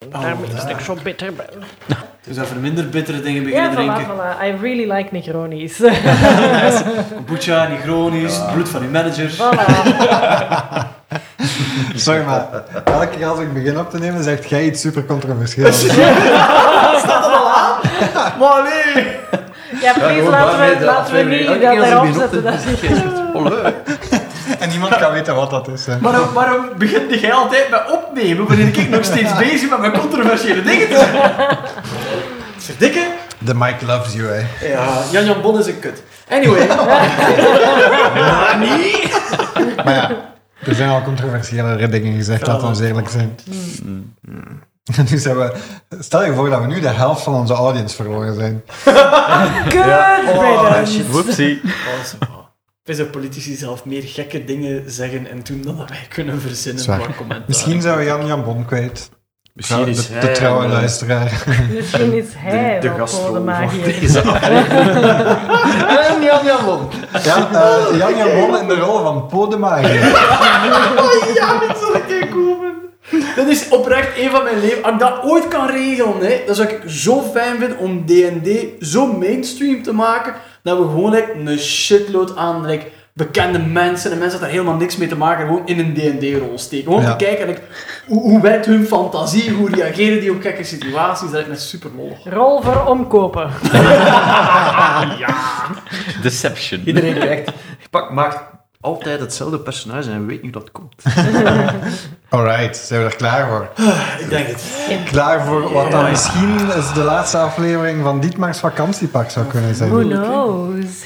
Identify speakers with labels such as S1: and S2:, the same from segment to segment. S1: en daarom is het ook zo bitter. ben.
S2: Dus even minder bittere dingen beginnen
S1: Ja, voilà,
S2: drinken.
S1: voilà. I really like Negronis.
S2: Kombucha, Negronis, het bloed van uw manager.
S1: voilà.
S3: Sorry, maar elke keer als ik begin op te nemen, zegt jij iets super controversieel.
S2: Maar nee!
S1: Ja, please, laten we, laten we niet dat erop zetten. Dat is
S4: Oh,
S3: en niemand kan weten wat dat is. Hè.
S2: Waarom, waarom begint jij altijd met opnemen wanneer ik nog steeds bezig ben met controversiële dingen te zijn? Verdikke?
S3: The mic loves you, hè.
S2: Ja, Jan-Jan Bon is een kut. Anyway. maar niet.
S3: Maar ja, er zijn al controversiële dingen gezegd, laten we ons eerlijk zijn. En nu zijn we... Stel je voor dat we nu de helft van onze audience verloren zijn.
S1: good, Brandon.
S4: Whoopsie.
S2: Het is dat politici zelf meer gekke dingen zeggen en doen dan dat wij kunnen verzinnen
S3: Zwaar.
S2: qua commentaar.
S3: Misschien zijn we Jan Jan Bon kwijt.
S4: Misschien is
S3: de,
S4: hij
S3: de trouwe
S4: wel
S3: luisteraar.
S1: Misschien is hij
S4: de
S1: wel
S4: gastrol
S1: voor Oh. de
S4: van
S1: magie.
S4: deze
S2: En Eh, Jan-Jan Bon.
S3: Ja, eh, Jan Jan Bon in de rol van Podemaaier.
S2: Oh Ja, dat zal ik keer komen. Dat is oprecht een van mijn leven. Als ik dat ooit kan regelen, hè, dan zou ik zo fijn vinden om D&D zo mainstream te maken, dat we gewoon like, een shitload aan like, bekende mensen en mensen dat daar helemaal niks mee te maken hebben, gewoon in een D&D-rol steken. Gewoon
S3: Ja.
S2: te kijken like, hoe, hoe werkt hun fantasie, hoe reageren die op gekke situaties. Dat lijkt me super mollig.
S1: Rol voor omkopen.
S4: Deception.
S5: Iedereen krijgt... Pak, maakt altijd hetzelfde personage en weet niet hoe dat komt.
S3: Alright, zijn we er klaar voor?
S2: Ik denk het.
S3: Klaar voor wat dan misschien is de laatste aflevering van Dietmar's vakantiepark zou kunnen
S1: Who
S3: zijn.
S1: knows?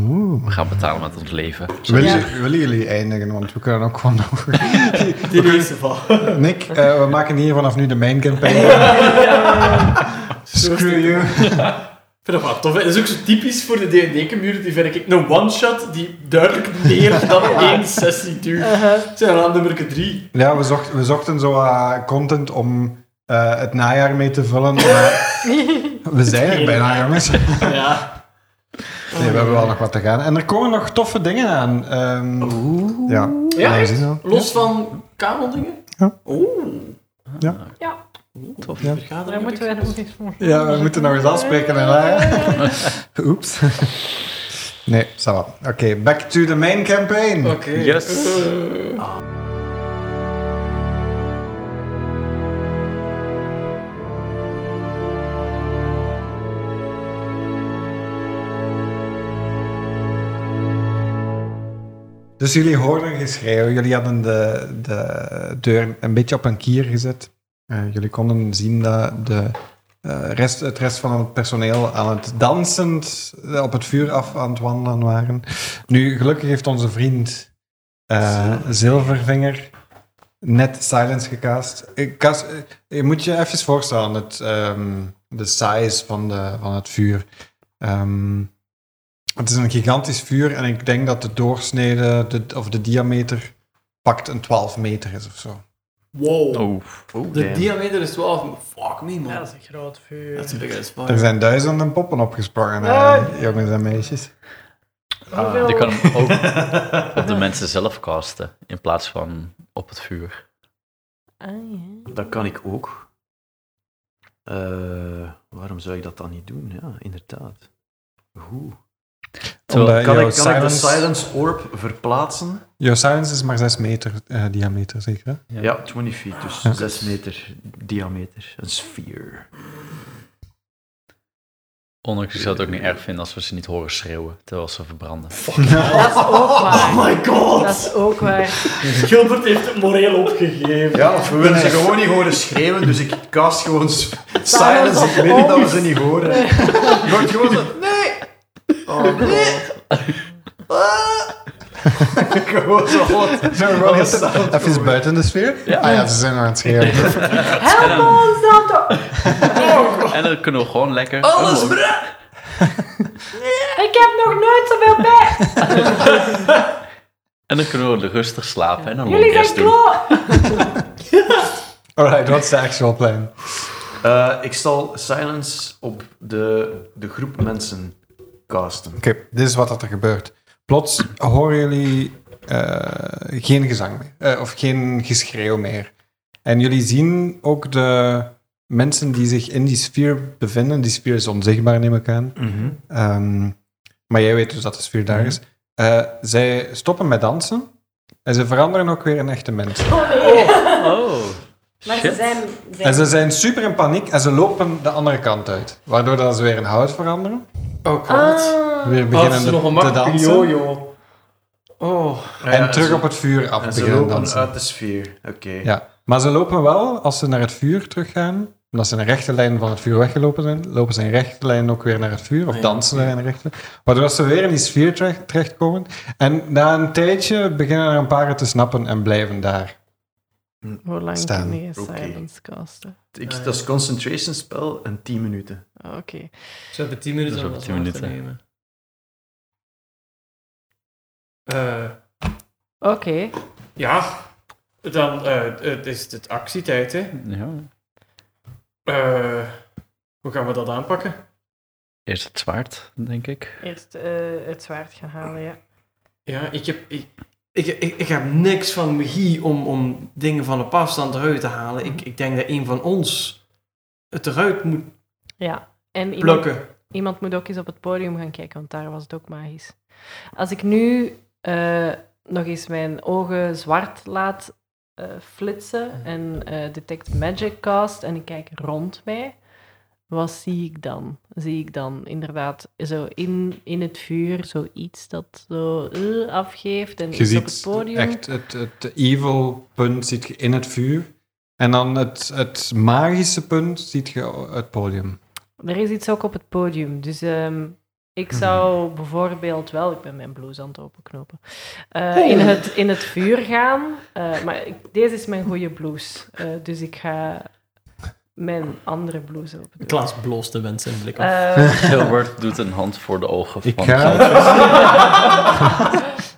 S3: Oeh.
S4: We gaan betalen met ons leven.
S3: Willen, willen jullie eindigen? Want we kunnen ook gewoon nog...
S2: Die eerste van.
S3: Nick, eh, we maken hier vanaf nu de main campaign. Screw you.
S2: Ik vind dat wel tof. hè. Dat is ook zo typisch voor de D&D-community, vind ik. Een one-shot die duidelijk meer dan één sessie duurt. Het zijn we aan nummer 3.
S3: Ja, we, zocht- we zochten zo eh, content om eh, het najaar mee te vullen. maar we zijn er bijna, jongens. Nee,
S2: Ja.
S3: we hebben wel nog wat te gaan. En er komen nog toffe dingen aan. Ehm, Ja,
S2: Ja,
S3: Nee, we
S2: echt?
S3: zien wel.
S2: Los van kabeldingen?
S3: Ja.
S2: Oeh.
S5: Ah.
S1: Ja,
S2: Tof.
S3: Ja.
S1: daar moeten we nog eens voor.
S3: Ja, we moeten nog eens afspreken. En, eh, Oeps. Nee, ça va. Oké, back to the main campaign.
S2: Oké.
S4: Yes.
S3: Dus jullie hoorden geschreeuw. Jullie hadden de, de deur een beetje op een kier gezet. Eh, jullie konden zien dat de, eh, rest, het rest van het personeel aan het dansend eh, op het vuur af aan het wandelen waren. Nu, gelukkig heeft onze vriend eh, Zilvervinger net silence gecast. Ik, Cas, eh, je moet je even voorstellen, het, ehm, de size van, de, van het vuur. Ehm, het is een gigantisch vuur en ik denk dat de doorsnede de, of de diameter pakt een 12 meter is of zo.
S2: Wow.
S4: Oh.
S2: De diameter is 12. Fuck me, man.
S1: Ja, dat is een groot vuur.
S2: Dat is big as fuck.
S3: Er zijn duizenden poppen opgesprongen, hè,
S1: Ah.
S3: jongens en meisjes.
S1: Hoeveel-
S4: Je kan hem ook op de mensen zelf casten, in plaats van op het vuur.
S1: Ah, ja.
S5: Dat kan ik ook. Eh, waarom zou ik dat dan niet doen? Ja, inderdaad. Hoe?
S4: Terwijl-
S3: Omdat
S5: Kan,
S3: jouw
S5: ik, kan ik de
S3: silence-
S5: Silence Orb verplaatsen?
S3: Jouw silence is maar 6 meter eh, diameter, zeker? hè?
S5: Ja, 20 feet, dus 6 meter diameter. Een sphere.
S4: Ondanks, ik zou het ook niet erg vinden als we ze niet horen schreeuwen terwijl ze verbranden.
S1: Dat is ook waar.
S2: Oh my god.
S1: Dat is ook waar.
S2: Gilbert heeft het moreel opgegeven.
S5: Ja, of we willen ze gewoon niet horen schreeuwen, dus ik cast gewoon s-
S1: Silence
S5: silence. Ik weet niet dat we ze niet horen. Het Wordt gewoon zo... Nee! Oh, nee! Ah. gewoon zo hot.
S3: Zijn we wel even, even buiten de sfeer?
S4: Ja.
S3: Ah ja, ze zijn aan het schreeuwen.
S1: Help ons dan toch!
S4: En dan kunnen we gewoon lekker...
S2: Alles
S4: Oh,
S2: brak.
S1: Ik heb nog nooit zoveel
S2: Oh,
S1: pech!
S4: En dan kunnen we rustig slapen en dan
S1: Jullie
S4: nog een
S1: zijn
S4: keer doen.
S1: kloot!
S3: Alright, what's the actual plan?
S5: Eh, ik zal silence op de, de groep mensen casten.
S3: Oké, dit is wat dat er gebeurt. Plots horen jullie eh, geen gezang meer, eh, of geen geschreeuw meer. En jullie zien ook de mensen die zich in die sfeer bevinden. Die sfeer is onzichtbaar, neem ik aan.
S4: Mhm.
S3: Ehm, maar jij weet dus dat de sfeer daar is. Eh, zij stoppen met dansen en ze veranderen ook weer in echte mensen.
S6: Oh nee.
S4: Oh.
S6: Maar ze
S4: Shit.
S6: zijn... zijn
S3: En ze zijn super in paniek en ze lopen de andere kant uit. Waardoor dat ze weer in hout veranderen.
S7: Oh god.
S6: Ah.
S3: Weer
S7: Oh, dat
S3: beginnen
S7: is nog een
S3: te
S7: makkelijke
S3: dansen.
S7: jojo. Oh.
S3: En terug op het vuur af
S5: En ze
S3: beginnen
S5: lopen
S3: dansen.
S5: uit de sfeer. Oké.
S3: Ja, maar ze lopen wel, als ze naar het vuur teruggaan, omdat ze in een rechte lijn van het vuur weggelopen zijn, lopen ze in een rechte lijn ook weer naar het vuur, of
S7: Ah, ja,
S3: dansen daar in een rechte Waardoor ze weer in die sfeer terecht, terechtkomen. En na een tijdje beginnen er een paar het te snappen en blijven daar.
S1: Hoe lang
S3: Staan.
S1: kun je
S5: Oké.
S1: silence casten?
S5: Ik,
S7: Ah, ja.
S5: Dat is concentration spel en 10 minuten.
S1: Ah, Oké.
S7: Ze hebben 10 minuten
S4: Dat
S7: om
S4: is
S7: dat
S4: over 10
S7: af te
S4: minuten.
S7: nemen. Eh,
S1: Oké.
S7: ja, dan eh, het is het actietijd. Hè.
S4: Ja.
S7: Eh, hoe gaan we dat aanpakken?
S4: Eerst het zwaard, denk ik.
S1: Eerst eh, het zwaard gaan halen, ja.
S7: Ja, ik heb, ik, ik, ik, ik heb niks van magie om, om dingen van op afstand eruit te halen. Ik, ik denk dat een van ons het eruit moet
S1: Ja. En iemand,
S7: plukken.
S1: iemand moet ook eens op het podium gaan kijken, want daar was het ook magisch. Als ik nu eh, nog eens mijn ogen zwart laat eh, flitsen en eh, detect magic cast en ik kijk rond mij, wat zie ik dan? Zie ik dan inderdaad zo in, in het vuur zoiets dat zo eh, afgeeft en
S3: Je
S1: iets op het
S3: ziet
S1: podium?
S3: echt het, het evil punt ziet je in het vuur. En dan het, het magische punt ziet je het podium.
S1: Er is iets ook op het podium. Dus ehm, ik
S3: Mhm.
S1: zou bijvoorbeeld wel, ik ben mijn blouse aan het openknopen, eh, in, het, in het vuur gaan. eh, maar ik- deze is mijn goede blouse. eh, dus ik ga mijn andere blouse open doen.
S7: Klaas bloost de mensen in blik
S1: Eh,
S4: Gilbert doet een hand voor de ogen
S3: Ik
S4: van
S3: ga-
S4: Gilbert.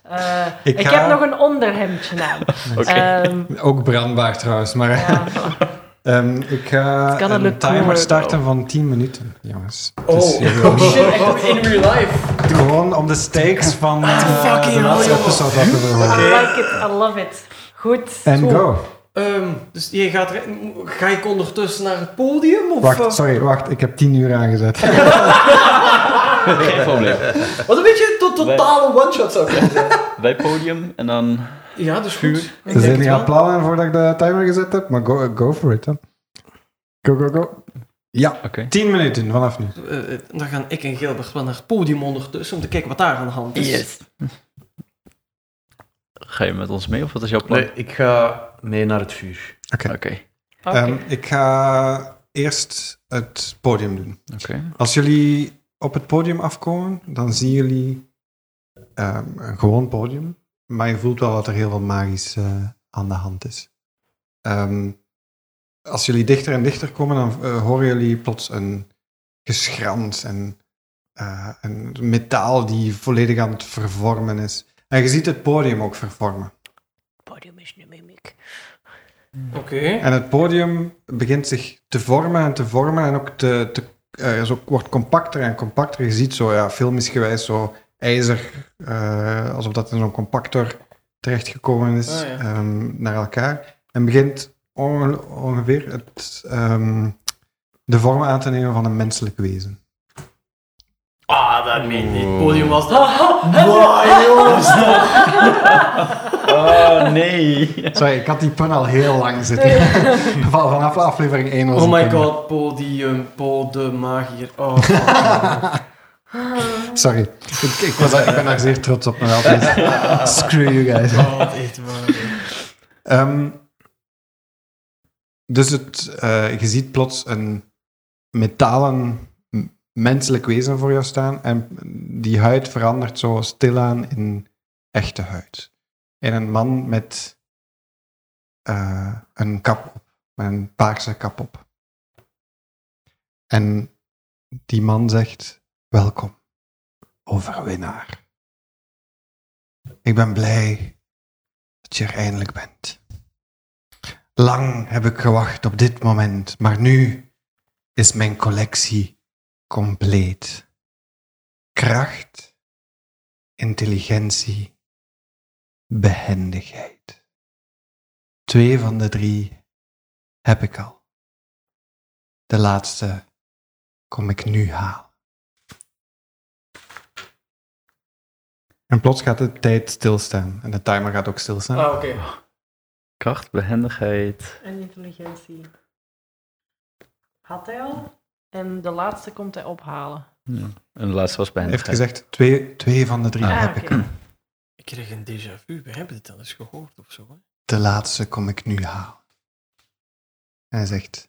S1: eh,
S3: Ik
S1: ik
S3: ga-
S1: heb nog een onderhemdje aan.
S4: Oké.
S1: Ehm,
S3: Ook brandbaar trouwens, maar...
S1: ja.
S3: Ehm, ik ga
S1: Het kan een
S3: een
S1: leuk
S3: timer
S1: nummer.
S3: starten van 10 minuten, jongens. Het
S7: Oh,
S3: is heel-
S7: oh shit, echt in real life.
S3: Gewoon om de stakes van eh,
S7: fucking
S3: de laatste
S7: hell, joh.
S3: episode wat te verhogen.
S1: I like it, I love it. Goed.
S3: En
S7: Zo.
S3: go.
S7: Ehm, dus je gaat er, ga ik ondertussen naar het podium? Of, eh,
S3: Wacht, sorry, wacht. Ik heb 10 uur aangezet.
S4: Geen probleem.
S7: Wat een beetje tot totale one-shot zou kunnen zijn.
S4: Wij podium en dan...
S7: Ja, dus goed.
S3: Er zijn hier al plannen voordat ik de timer gezet heb, maar go, go for it. Hè. Go, go, go. Ja,
S4: Oké.
S3: 10 minuten vanaf nu.
S7: Eh, eh, dan gaan ik en Gilbert wel naar het podium ondertussen om te kijken wat daar aan de hand is.
S4: Ga je met ons mee of wat is jouw plan?
S5: Nee, ik ga mee naar het vuur.
S3: Oké.
S4: Oké.
S1: Oké.
S3: Ehm, ik ga eerst het podium doen.
S4: Oké.
S3: Als jullie op het podium afkomen, dan zien jullie ehm, een gewoon podium. Maar je voelt wel dat er heel veel magisch eh, aan de hand is. Ehm, als jullie dichter en dichter komen, dan eh, horen jullie plots een geschrans en eh, een metaal die volledig aan het vervormen is. En je ziet het podium ook vervormen.
S1: Het podium is nu mimic.
S7: Oké.
S3: En het podium begint zich te vormen en te vormen en ook te, te, eh, zo wordt compacter en compacter. Je ziet zo, ja, filmisch gewijs, zo ijzer, eh, alsof dat in zo'n compactor terechtgekomen is,
S7: Ah, ja.
S3: ehm, naar elkaar. En begint onge- ongeveer het, ehm, de vorm aan te nemen van een menselijk wezen.
S7: Ah, dat meen ik niet. Het podium was...
S5: Ah,
S7: Wauw, jongens.
S4: Oh, nee.
S3: Sorry, ik had die pun al heel lang zitten. Van- Vanaf aflevering 1 was
S7: Oh
S3: het
S7: my
S3: in.
S7: god,
S2: ehm,
S7: podium, podemagier. Oh, god.
S3: Sorry, ik, ik, was, daar- ik ben daar zeer trots op. Maar altijd. Screw you guys.
S2: oh,
S7: god, echt waar.
S3: Ehm, dus het, eh, je ziet plots een metalen m- menselijk wezen voor jou staan en die huid verandert zo stilaan in echte huid. In een man met eh, een kap op, met een paarse kap op. En die man zegt, welkom, overwinnaar. Ik ben blij dat je er eindelijk bent. Lang heb ik gewacht op dit moment, maar nu is mijn collectie compleet. Kracht, intelligentie, behendigheid. Twee van de drie heb ik al. De laatste kom ik nu halen. En plots gaat de tijd stilstaan. En de timer gaat ook stilstaan.
S2: Oh.
S8: Ah, oké.
S4: Kracht, behendigheid.
S1: En intelligentie. Had hij al. En de laatste komt hij ophalen.
S4: Ja. Hm. En de laatste was
S3: Hij heeft
S4: behendigheid.
S3: gezegd, twee, twee van de drie
S1: Ah,
S3: heb
S1: oké.
S3: ik. al.
S2: Ik kreeg een déjà vu. We hebben dit al eens gehoord of zo. Hè?
S3: De laatste kom ik nu halen. En hij zegt: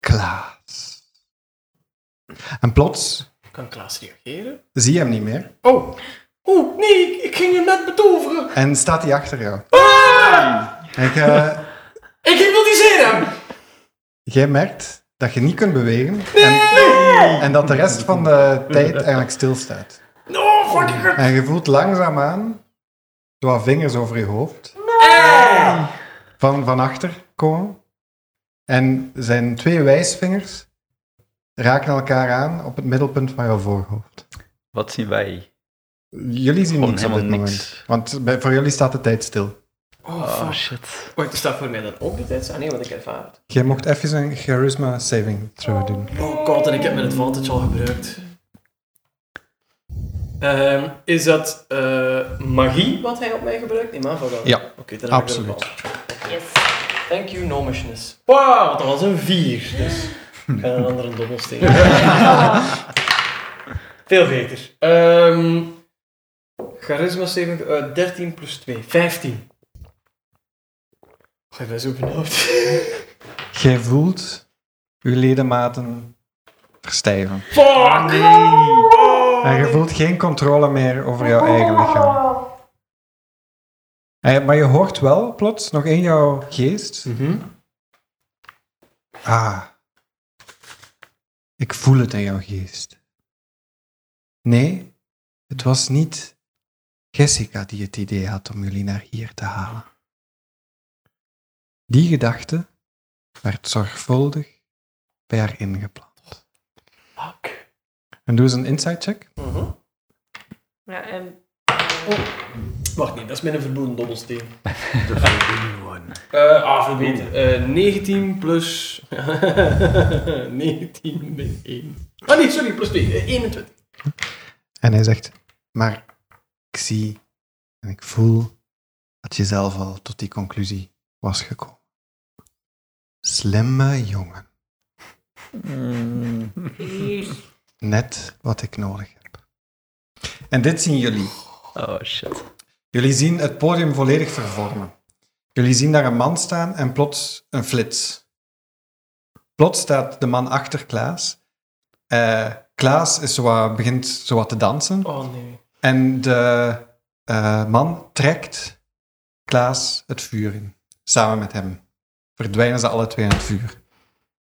S3: Klaas. En plots
S2: Kan Klaas reageren?
S3: zie je hem niet meer
S8: Oh. Oeh, nee, ik, ik ging hem net betoveren.
S3: en staat hij achter jou.
S8: Ah!
S3: En je-
S8: Ik hypnotiseer hem.
S3: jij merkt dat je niet kunt bewegen en, en dat de rest van de tijd eigenlijk stilstaat.
S8: No,
S2: Oh,
S8: fucking god.
S3: En je voelt langzaamaan zo wat vingers over je hoofd
S8: Eh.
S3: van, van achter komen. En zijn twee wijsvingers raken elkaar aan op het middelpunt van jouw voorhoofd.
S4: Wat zien wij?
S3: Jullie zien
S4: Gewoon
S3: niks op dit
S4: helemaal
S3: moment.
S4: niks.
S3: Want bij, voor jullie staat de tijd stil.
S2: Oh,
S4: Oh
S2: fuck.
S4: shit.
S2: Wacht, staat voor mij dan ook de tijd? Ah nee, want ik ervaar het.
S3: Jij mocht even een charisma saving throw doen.
S2: Oh god, en ik heb mijn advantage al gebruikt. Ehm, is dat eh, magie wat hij op mij gebruikt? Nee, maar van wel.
S3: Ja,
S2: Oké, dan heb ik
S3: absoluut.
S2: dat wel.
S1: Yes.
S2: Thank you, nomishness. Wow, dat was een 4. Dus ik ga een andere dobbelsteen. Veel beter. Ehm, charisma 7, eh, 13 plus 2, 15. Oh, ik ben zo benauwd.
S3: Jij voelt uw ledematen verstijven.
S2: Fuck!
S3: En je voelt geen controle meer over jouw eigen lichaam. Eh, Maar je hoort wel plots nog in jouw geest.
S2: Mhm.
S3: Ah. Ik voel het in jouw geest. Nee, het was niet Jessica die het idee had om jullie naar hier te halen. Die gedachte werd zorgvuldig bij haar ingeplant.
S2: Fuck.
S3: En doe eens een insight check.
S2: Mhm.
S1: Ja, en...
S2: Wacht, nee, dat is mijn verboden dobbelsteen.
S5: De Forbidden One.
S2: Eh ah, veel beter. Eh, 19 plus... 19 min 1. Ah nee, sorry, plus 2. Eh, 21.
S3: En hij zegt, maar ik zie en ik voel dat je zelf al tot die conclusie was gekomen. Slimme jongen. Net wat ik nodig heb. En dit zien jullie.
S4: Oh shit.
S3: Jullie zien het podium volledig vervormen. Jullie zien daar een man staan en plots een flits. Plots staat de man achter Klaas. Eh, Klaas is zo wat- begint zo wat te dansen.
S2: Oh nee.
S3: En de eh, man trekt Klaas het vuur in. Samen met hem. Verdwijnen ze alle twee in het vuur.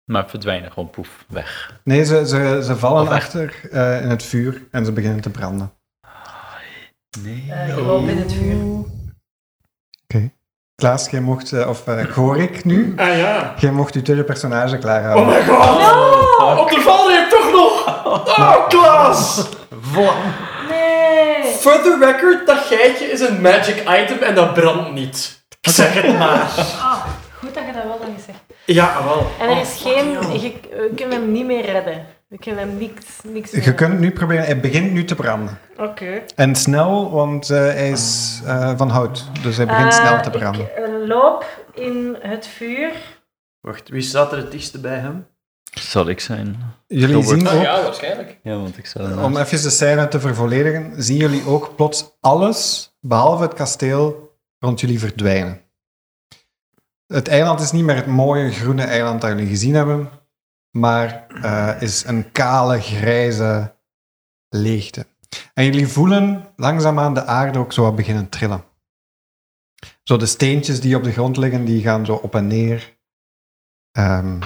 S4: Maar verdwijnen gewoon poef weg.
S3: Nee, ze, ze, ze vallen
S4: Of echt?
S3: achter eh, in het vuur en ze beginnen te branden.
S4: Nee.
S1: eh, gewoon in het vuur.
S3: Klaas, jij mocht, eh, of eh, Gorik nu,
S8: Ah ja.
S3: jij mocht uw tweede personage klaarhouden.
S8: Oh my god.
S2: Ah,
S8: Op de valreep toch nog. Oh, Klaas.
S1: Nee!
S8: For the record, dat geitje is een magic item en dat brandt niet. Ik zeg het maar.
S1: Ah, goed dat je dat wel dan gezegd Oh, hebt.
S7: ah,
S8: Ja, wel.
S1: En er is geen... Je, we kunnen hem niet meer redden. We kunnen hem niks, niks meer
S3: Je kunt nu proberen, hij begint nu te branden.
S1: Oké.
S3: En snel, want eh, hij is eh, van hout, dus hij begint
S1: Eh,
S3: snel te branden.
S1: Ik eh, loop in het vuur.
S5: Wacht, wie staat er het dichtste bij hem?
S4: Zal ik zijn?
S3: Jullie
S4: Gilbert.
S3: zien ook,
S7: Oh.
S2: waarschijnlijk.
S4: Ja, want ik zou...
S3: om even de scène te vervolledigen, zien jullie ook plots alles, behalve het kasteel, rond jullie verdwijnen. Het eiland is niet meer het mooie groene eiland dat jullie gezien hebben, maar eh, is een kale, grijze leegte. En jullie voelen langzaamaan de aarde ook zo wat beginnen trillen. Zo de steentjes die op de grond liggen, die gaan zo op en neer. Ehm,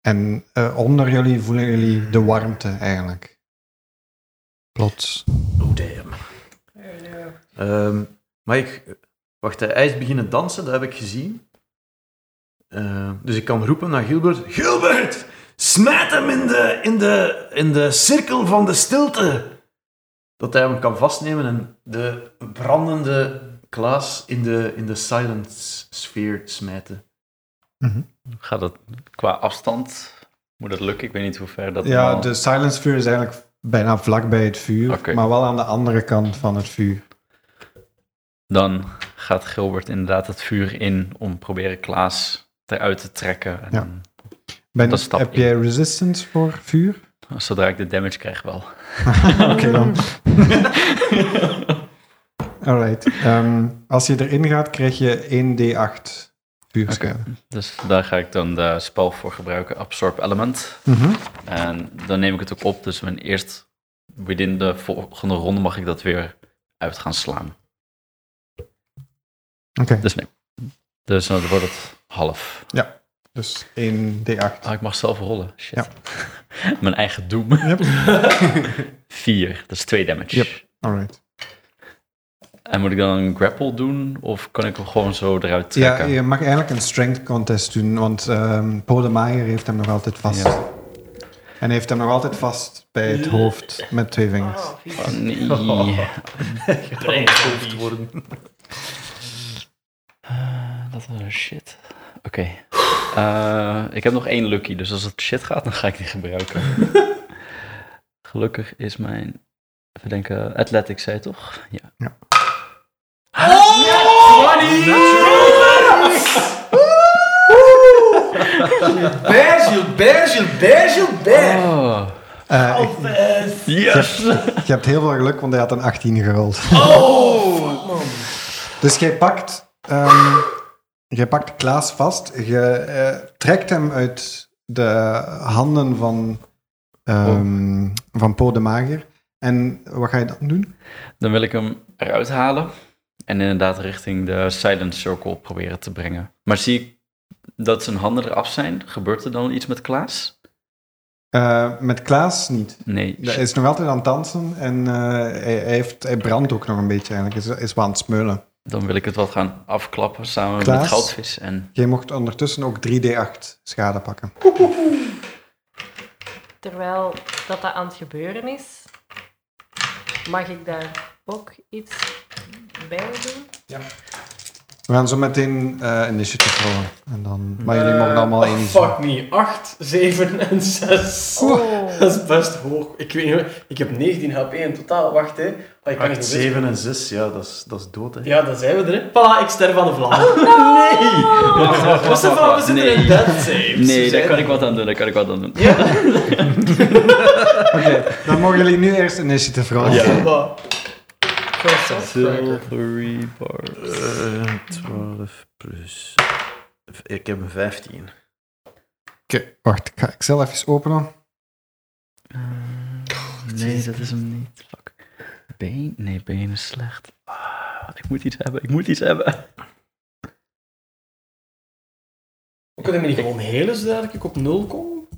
S3: en eh, onder jullie voelen jullie de warmte eigenlijk. Plots.
S5: Oh, damn. Ehm, maar ik... Wacht, hij is beginnen dansen, dat heb ik gezien. Ehm, dus ik kan roepen naar Gilbert. Gilbert! Smijt hem in de, in, de, in de cirkel van de stilte! Dat hij hem kan vastnemen en de brandende Klaas in de, in de silence sfeer smijten.
S3: Mhm.
S4: Gaat het qua afstand? Moet dat lukken? Ik weet niet hoe ver dat
S3: Ja, dus-
S4: allemaal-
S3: de silence vuur is eigenlijk bijna vlak bij het vuur,
S4: Oké.
S3: maar wel aan de andere kant van het vuur.
S4: Dan gaat Gilbert inderdaad het vuur in om proberen Klaas eruit te trekken. En
S3: Ja.
S4: dan-
S3: Ben,
S4: Dat stap
S3: heb
S4: in.
S3: jij resistance voor vuur?
S4: zodra ik de damage krijg wel.
S3: Oké dan. Alright. Ehm, als je erin gaat, krijg je 1d8 vuurschade.
S4: Dus daar ga ik dan de spel voor gebruiken, Absorb Element.
S3: Mhm.
S4: En dan neem ik het ook op, dus mijn eerst binnen de volgende ronde mag ik dat weer uit gaan slaan.
S3: Oké.
S4: Dus nee. Dus dan wordt het half.
S3: Dus 1d8.
S4: Ah, ik mag zelf rollen. Shit.
S3: Ja.
S4: mijn eigen doem.
S3: Yep.
S4: Vier, dat is twee damage.
S3: Yep. Alright.
S4: En moet ik dan een grapple doen, of kan ik hem gewoon zo eruit
S3: Ja,
S4: trekken?
S3: je mag eigenlijk een strength contest doen, want ehm Podemaier heeft hem nog altijd vast.
S4: Ja.
S3: En heeft hem nog altijd vast bij het hoofd met twee vingers.
S1: Oh, vies.
S4: Oh, nee.
S5: Gehoofd worden.
S4: Eh, dat was een shit. Oké. Eh, ik heb nog één lucky, dus als het shit gaat, dan ga ik die gebruiken. Gelukkig is mijn. Even denken, Athletics zei je toch? Ja.
S3: Ja.
S7: Basil, Basil, Basil, Basil.
S4: Oh,
S3: Eh, ik-
S4: yes!
S3: Je hebt heel veel geluk, want hij had een 18 gerold.
S7: Oh,
S3: Dus jij pakt, ehm, jij pakt Klaas vast. Je eh, trekt hem uit de handen van, ehm
S4: Oh.
S3: van Po de Mager. En wat ga je dan doen?
S4: Dan wil ik hem eruit halen en inderdaad richting de Silent Circle proberen te brengen. Maar zie ik dat zijn handen eraf zijn? Gebeurt er dan iets met Klaas?
S3: Eh, met Klaas niet.
S4: Nee.
S3: Hij is nog altijd aan het dansen en eh, hij, hij heeft, hij brandt ook nog een beetje eigenlijk. Hij is, is wel aan het smeulen.
S4: Dan wil ik het wat gaan afklappen samen met
S3: Klaas?
S4: Goudvis en
S3: Jij mocht ondertussen ook 3d8 schade pakken.
S1: Terwijl dat, dat aan het gebeuren is, mag ik daar ook iets bij doen?
S3: We gaan zo meteen eh initiative rollen. En dan, maar jullie
S2: Eh,
S3: mogen
S8: oh,
S2: oh,
S3: allemaal één doen.
S7: Fuck me, 8, 7 en 6.
S1: Oh.
S7: Dat is best hoog. Ik weet niet, ik heb 19 HP in totaal. Wacht, hè. Oh, ik kan niet
S5: 8, 7 en 6, ja, dat is, dat is dood, hè.
S7: Ja, dan zijn we er, hè. Voilà, ik sterf aan de vlam. Nee!
S4: Wacht,
S7: Wat is
S4: wacht, wacht,
S7: er
S4: wacht,
S7: van? We
S4: wacht.
S7: zitten
S4: Nee,
S7: in dead saves.
S4: nee
S7: Ze
S4: daar kan
S7: zijn-
S4: ik wat aan doen, daar kan ik wat aan doen.
S3: Oké, dan mogen jullie nu eerst initiative rollen.
S7: Wat?
S4: Silvery bar.
S5: Eh, 12 plus... Ik heb een 15.
S3: Oké, wacht, ik ga Excel even openen.
S4: Nee, dat is hem niet. Fuck. Been? Nee, been is slecht. Ah, ik moet iets hebben, ik moet iets hebben.
S7: Kunnen we niet gewoon helen zodat ik op 0 kom?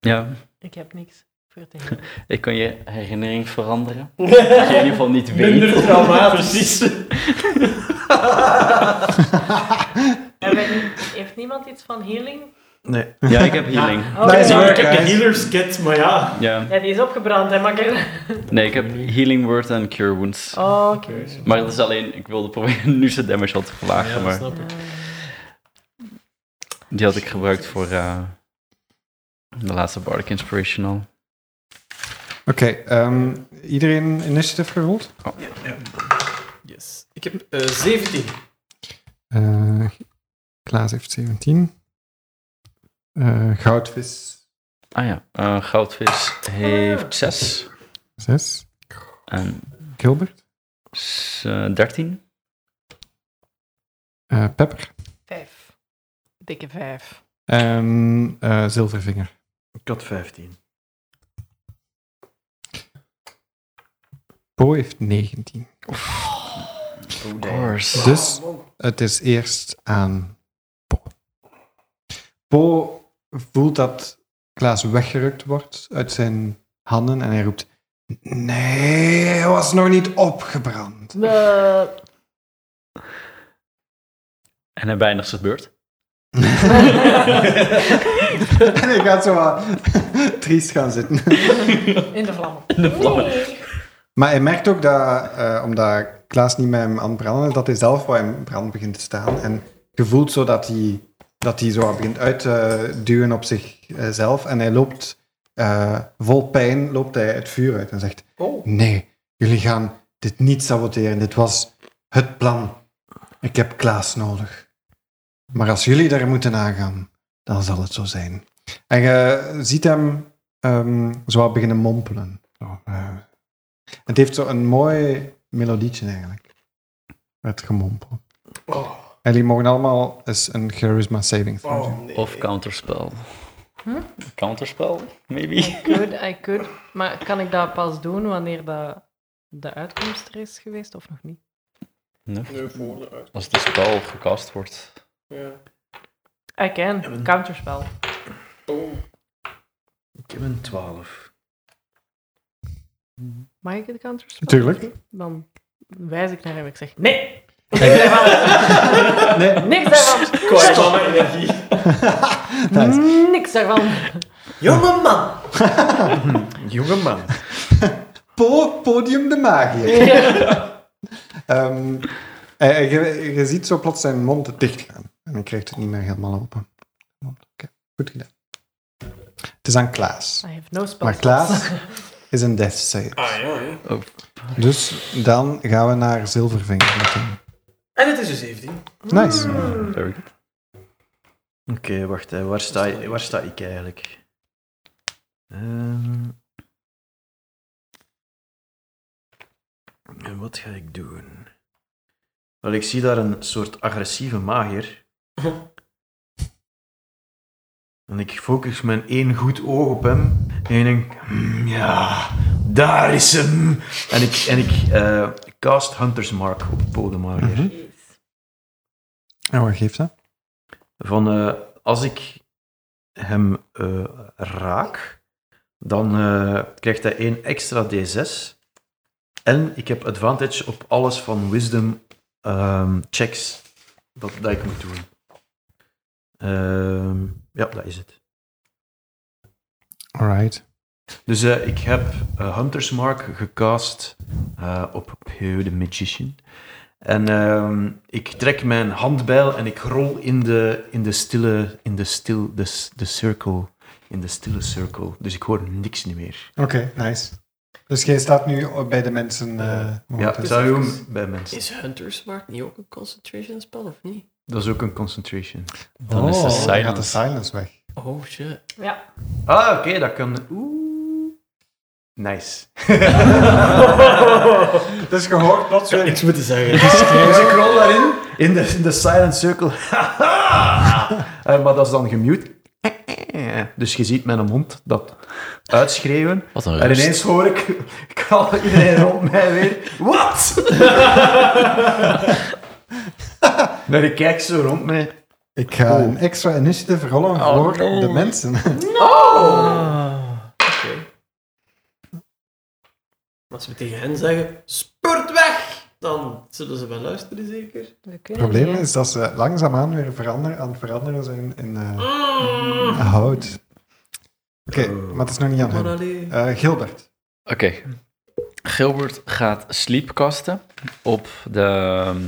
S4: Ja,
S1: Ik heb niks voor te helen.
S4: ik kan je herinnering veranderen. Dat je in ieder geval niet weet.
S7: Minder traumatisch.
S4: Precies.
S1: Hebben we niet- Heeft niemand iets van healing?
S5: Nee.
S4: Ja, ik heb healing.
S1: Oh,
S3: Nee,
S1: ja.
S3: maar-
S7: Ik heb de
S3: guys.
S7: healers kit, maar ja.
S4: Ja.
S1: Ja, die is opgebrand, hè, makker.
S4: Nee, ik heb healing word en cure wounds.
S1: Oh, oké.
S4: Maar dat is alleen, ik wilde proberen nu zijn damage al te verlagen, maar
S1: Eh,
S7: snap ik.
S4: die had ik gebruikt voor eh, de laatste Bardic Inspirational.
S3: Oké, ehm, iedereen initiative gerold?
S7: Yes. Ik heb eh, 17.
S3: Eh, Klaas heeft 17. Eh, goudvis
S4: Ah ja, eh, Goudvis heeft 6
S3: 6.
S4: en
S3: Gilbert.
S4: s- eh, 13.
S3: eh, Pepper.
S1: Vijf. Dikke vijf.
S3: En eh, Zilvervinger.
S5: Ik had 15.
S3: Po heeft 19.
S4: Oh, Of course.
S3: Dus het is eerst aan Po. Po voelt dat Klaas weggerukt wordt uit zijn handen en hij roept: Nee, hij was nog niet opgebrand.
S4: En hij bijna zijn beurt.
S3: En hij gaat zo wat triest gaan zitten.
S1: in de vlammen.
S4: In de vlammen.
S1: Nee.
S3: Maar hij merkt ook dat, eh, omdat Klaas niet met hem aan het branden is, dat hij zelf wat in brand begint te staan. En je voelt zo dat hij, dat hij zo wat begint uit te duwen op zichzelf. En hij loopt eh, vol pijn loopt hij het vuur uit en zegt:
S6: Oh.
S3: Nee, jullie gaan dit niet saboteren. Dit was het plan. Ik heb Klaas nodig. Maar als jullie daar moeten aangaan, dan zal het zo zijn. En je ziet hem ehm, zo wat beginnen mompelen. Zo, eh. Het heeft zo een mooi melodietje eigenlijk. Het gemompel.
S7: Oh.
S3: En die mogen allemaal eens een charisma saving throw doen.
S7: Oh, nee.
S4: Of counterspel.
S1: Hm?
S4: Counterspel, maybe.
S1: I could, I could. Maar kan ik dat pas doen wanneer dat de uitkomst er is geweest of nog niet?
S4: Nee.
S6: Nee, voor de uit.
S4: Als de spel gecast wordt.
S6: Ja.
S1: I can. Counterspel.
S6: Oh.
S5: Ik heb een 12.
S1: Mag ik het counterspel?
S3: Tuurlijk.
S1: Dan wijs ik naar hem en ik zeg nee.
S3: Nee.
S1: Niks daarvan.
S6: Kwijt van mijn energie.
S1: Niks daarvan.
S7: Jonge man!
S5: Jonge man.
S3: Po- podium de magier. Ehm, eh, je, je ziet zo plots zijn mond dicht gaan. En dan krijgt het niet meer helemaal open. Mond, Oké, goed gedaan. Het is aan Klaas.
S1: I have no spells.
S3: Maar Klaas is een death save.
S6: Ah ja, ja.
S3: Dus dan gaan we naar Zilvervinger meteen.
S7: En het is een 17.
S3: Nice.
S4: Very good.
S5: Oké, wacht. Hè. Waar, sta, je- waar sta ik eigenlijk? Ehm. En wat ga ik doen? Wel, ik zie daar een soort agressieve magier. En ik focus mijn één goed oog op hem. En ik denk, "Hmm, ja, daar is hem. En ik, en ik eh, cast Hunter's Mark op de bodemmagier.
S3: Mhm. En wat geeft dat?
S5: Van eh, als ik hem eh, raak, dan eh, krijgt hij één extra D6. En ik heb advantage op alles van wisdom ehm, checks dat, dat ik moet doen. Ehm, ja, dat is het.
S3: Alright.
S5: Dus eh, ik heb eh, Hunter's Mark gecast eh, op Peu the Magician. En ehm, ik trek mijn handbijl en ik rol in de, in de stille, in de stil, de, s- de cirkel, in de stille cirkel. Dus ik hoor niks niet meer.
S3: Oké, nice. Dus jij staat nu bij de mensen. eh,
S5: ja,
S4: dus
S3: momenteel.
S5: dat zou je
S6: even-
S5: doen bij mensen.
S2: Is Hunter's Mark niet ook een concentration spel of niet?
S5: Dat is ook een concentration.
S4: Dan is
S3: Oh.
S4: de
S3: dan gaat de
S4: silence.
S3: silence weg.
S2: Oh shit.
S5: Ah, oké, dat kan. Oeh. Nice.
S3: Dus je hoort plots weer
S7: Niks moeten zeggen.
S5: Dus ik rol daarin, in de, in de silent circle. Eh, maar dat is dan gemute. Dus je ziet mijn mond dat uitschreeuwen.
S4: Wat een
S5: En
S4: rust.
S5: ineens hoor ik, ik haal iedereen rond mij weer. Wat? Maar ik kijk zo rond mij.
S3: Ik ga een extra initiative rollen
S4: Oh,
S3: voor de mensen.
S2: Oh! Als we tegen hen zeggen, spurt weg! Dan zullen ze wel luisteren, zeker?
S1: We
S3: Het
S1: kunnen
S3: probleem
S1: niet, hè.
S3: is dat ze langzaamaan weer veranderen, aan het veranderen zijn in eh,
S2: Mm.
S3: hout. Oké, maar het is nog niet aan
S2: Maar
S3: hem.
S2: Oh, allee.
S3: Eh, Gilbert.
S4: Oké. Gilbert gaat sleepcasten op de, ehm,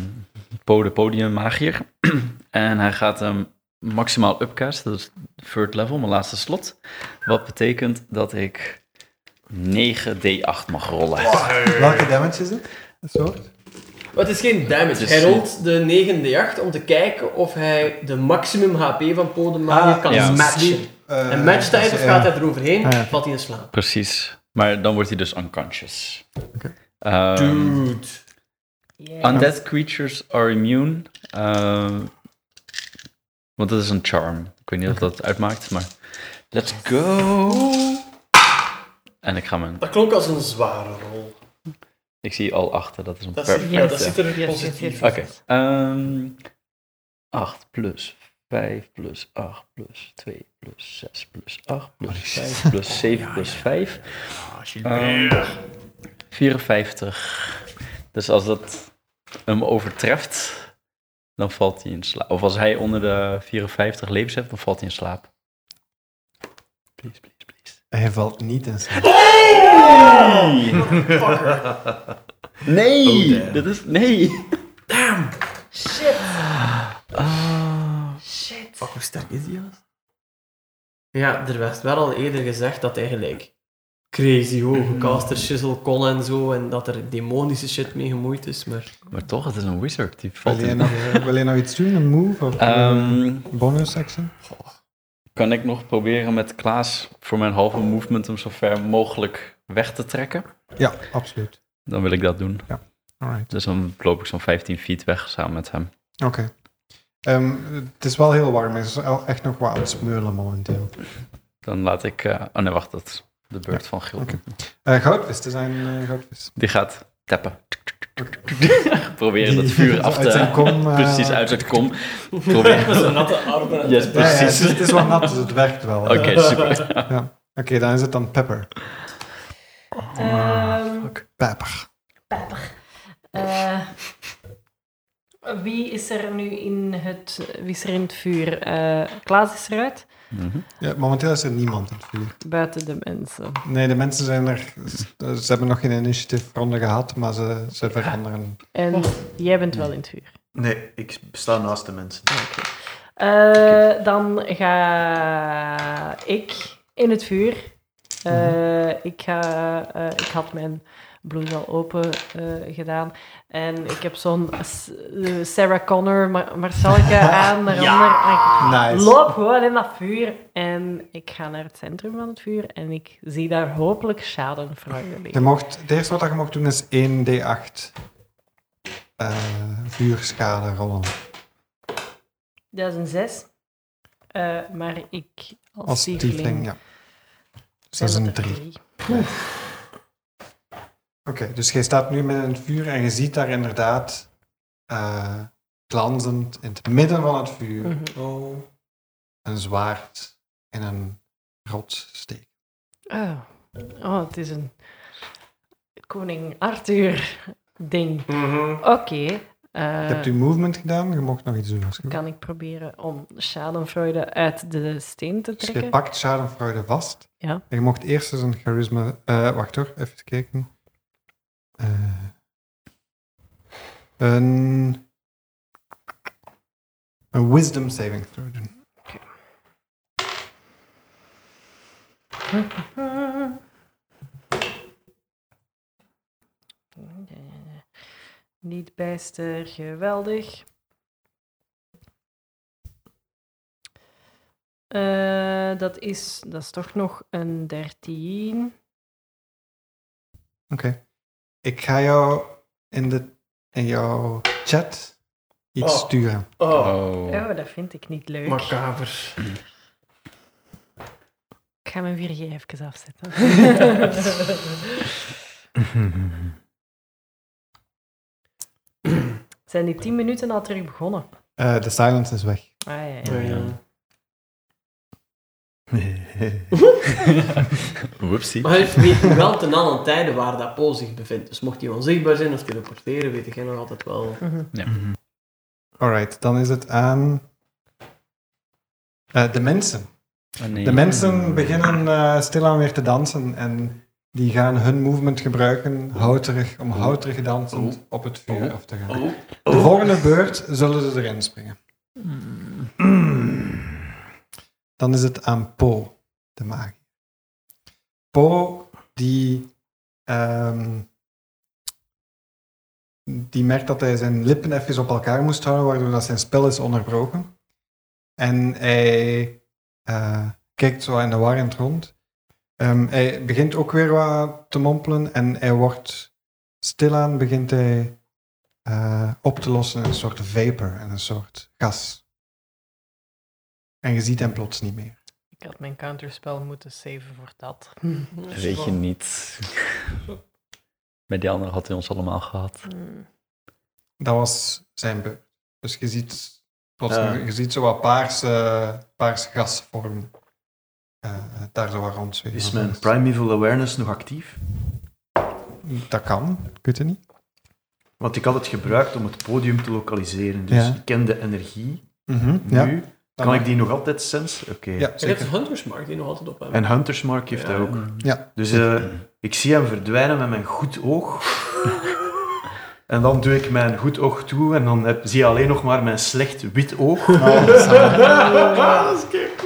S4: po- de podiummagier. en hij gaat hem maximaal upcast, dat is third level, mijn laatste slot. Wat betekent dat ik 9d8 mag rollen.
S3: Welke damage is het? Een soort?
S2: Wat is geen damage?
S4: Dus-
S2: hij rolt de 9d8 om te kijken of hij de maximum HP van Podemanier
S3: Ah,
S2: kan
S4: ja.
S2: matchen.
S3: Eh,
S2: En matcht hij het of
S3: ja.
S2: gaat hij eroverheen,
S3: Ah, ja.
S2: valt hij in slaap.
S4: Precies. Maar dan wordt hij dus unconscious. Ehm,
S2: Dude.
S1: Yeah.
S4: Undead creatures are immune. ehm, want dat is een charm. Ik weet niet of dat uitmaakt, maar. Let's go! En ik ga mijn.
S2: Dat klonk als een zware rol.
S4: Ik zie al achter, dat is een
S2: Dat, zit, ja, dat
S4: perfecte.
S2: zit er
S1: Yes, yes,
S2: positief
S1: yes.
S4: Oké. ehm, 8 plus 5 plus 8 plus 2 plus 6 plus 8 plus 5 plus 7 plus 5. Ehm, 54. Dus als dat hem overtreft, dan valt hij in slaap. Of als hij onder de 54 levens heeft, dan valt hij in slaap. Please, please, please.
S3: Hij valt niet in slaap.
S4: Hey! Nee!
S5: Oh, damn.
S4: dit is... Nee!
S1: Shit.
S4: Ah.
S1: Shit.
S2: Fuck, hoe sterk is die gast? Ja, er werd wel al eerder gezegd dat hij gelijk crazy hoge caster shizzle kon en zo, en dat er demonische shit mee gemoeid is, maar...
S4: Maar toch, het is een wizard. Die valt
S3: Wil jij
S4: in.
S3: nog, eh, wil jij nog iets doen? Een move? Of een
S4: Ehm,
S3: bonus action?
S4: kan ik nog proberen met Klaas voor mijn halve movement hem zo ver mogelijk weg te trekken?
S3: Ja, absoluut.
S4: Dan wil ik dat doen.
S3: Alright.
S4: Dus dan loop ik zo'n 15 feet weg samen met hem.
S3: Oké. Ehm, het is wel heel warm. Het is wel echt nog wat aan het smeulen momenteel.
S4: Dan laat ik... eh, oh nee, wacht. Dat is de beurt van Gilbert.
S3: Eh goudvis, er zijn eh goudvis.
S4: Die gaat tappen. Proberen dat vuur
S3: Die-
S4: af
S3: uit zijn
S4: te...
S3: kom, eh,
S4: Precies, uit het kom. Proberen...
S2: Met zijn natte armen.
S4: Yes,
S3: Ja, ja, het, is,
S4: precies.
S3: het is wel nat, dus het werkt wel. Eh,
S4: Oké, super.
S3: Oké, dan is het dan pepper.
S2: Ah.
S1: Ehm,
S3: Pepper.
S1: Pepper. Eh, wie is er nu in het, wie is er in het vuur? Eh, Klaas is eruit,
S4: Mhm.
S3: Ja, momenteel is er niemand in het vuur.
S1: buiten de mensen.
S3: Nee, de mensen zijn er... Ze hebben nog geen initiatiefronde gehad, maar ze, ze veranderen.
S1: En jij bent wel in het vuur.
S5: Nee, ik sta naast de mensen.
S1: Eh, Dan ga ik in het vuur. Eh,
S3: Mhm.
S1: ik, ga, eh, ik had mijn blouse al open eh, gedaan. En ik heb zo'n S- eh, Sarah Connor, Mar Marcelka aan. Naar onder.
S3: Nice.
S1: Loop gewoon in dat vuur en ik ga naar het centrum van het vuur en ik zie daar hopelijk schadenfraude
S3: Je
S1: liggen.
S3: mocht, het eerste wat je mocht doen is 1d8 eh, vuurschade rollen.
S1: Dat is een zes. Eh, maar ik als,
S3: Als tiefling, ja. Dus dat is een 3. Oké, dus jij staat nu met een vuur en je ziet daar inderdaad eh, glanzend in het midden van het vuur
S1: Mhm.
S3: een zwaard in een rots steken.
S1: Oh. oh, het is een koning Arthur ding. Oké, eh,
S3: je hebt je movement gedaan, je mocht nog iets doen. Als je
S1: kan ik proberen om schadenfraude uit de steen te
S3: Dus je
S1: trekken?
S3: pakt schadenfraude vast.
S1: Ja.
S3: En je mocht eerst eens een charisma... eh, wacht hoor, even kijken. Eh, een... Een wisdom saving throw doen.
S1: Niet bijster, geweldig. Eh, dat, is, dat is toch nog een 13.
S3: Oké. Ik ga jou in, de, in jouw chat iets
S2: Oh.
S3: sturen.
S2: Oh,
S4: Oh.
S1: Oh, dat vind ik niet leuk.
S2: macaber.
S1: Ik ga mijn 4G even afzetten. Zijn die 10 minuten al terug begonnen?
S3: Eh, de silence is weg.
S1: Ah, ja, ja.
S2: Oh, ja.
S4: Whoopsie.
S2: Maar we weten wel ten allen tijde waar dat pool zich bevindt. Dus mocht hij onzichtbaar zijn of teleporteren, weet ik nog altijd wel...
S1: Mhm.
S3: Alright, dan is het aan... eh, de mensen.
S4: Oh, nee.
S3: De mensen beginnen eh stilaan weer te dansen en die gaan hun movement gebruiken, houterig, om houterig dansend op het vuur af te gaan. De volgende beurt zullen ze erin springen. Dan is het aan Po, de magie. Po, die, ehm, die merkt dat hij zijn lippen even op elkaar moest houden, waardoor dat zijn spel is onderbroken. En hij... eh, kijkt zo in de war in het rond. Ehm, hij begint ook weer wat te mompelen en hij wordt stilaan begint hij eh, op te lossen in een soort vapor en een soort gas. En je ziet hem plots niet meer.
S1: Ik had mijn counterspel moeten saven voor dat.
S4: Weet je niet. Met die andere had hij ons allemaal gehad.
S1: Hmm.
S3: Dat was zijn beurt. Dus je ziet plots,
S5: Ja.
S3: je ziet zo wat paarse, paarse gasvorm eh, daar zo wat rondzweven.
S5: Is mijn primeval awareness nog actief?
S3: Dat kan, ik weet het niet.
S5: Want ik had het gebruikt om het podium te lokaliseren. Dus
S3: Ja.
S5: ik ken de energie
S3: Mhm,
S5: nu.
S3: ja, dat
S5: Kan
S3: mag.
S5: ik die nog altijd sensen? Oké.
S3: Ja,
S2: Ik heb de
S3: zeker.
S2: Hunter's Mark die nog altijd op hem.
S5: En Hunter's Mark heeft
S2: Ja.
S5: dat ook.
S3: Ja.
S5: Dus eh, ik zie hem verdwijnen met mijn goed oog. En dan doe ik mijn goed oog toe en dan heb, zie je alleen nog maar mijn slecht wit oog.
S3: Oh,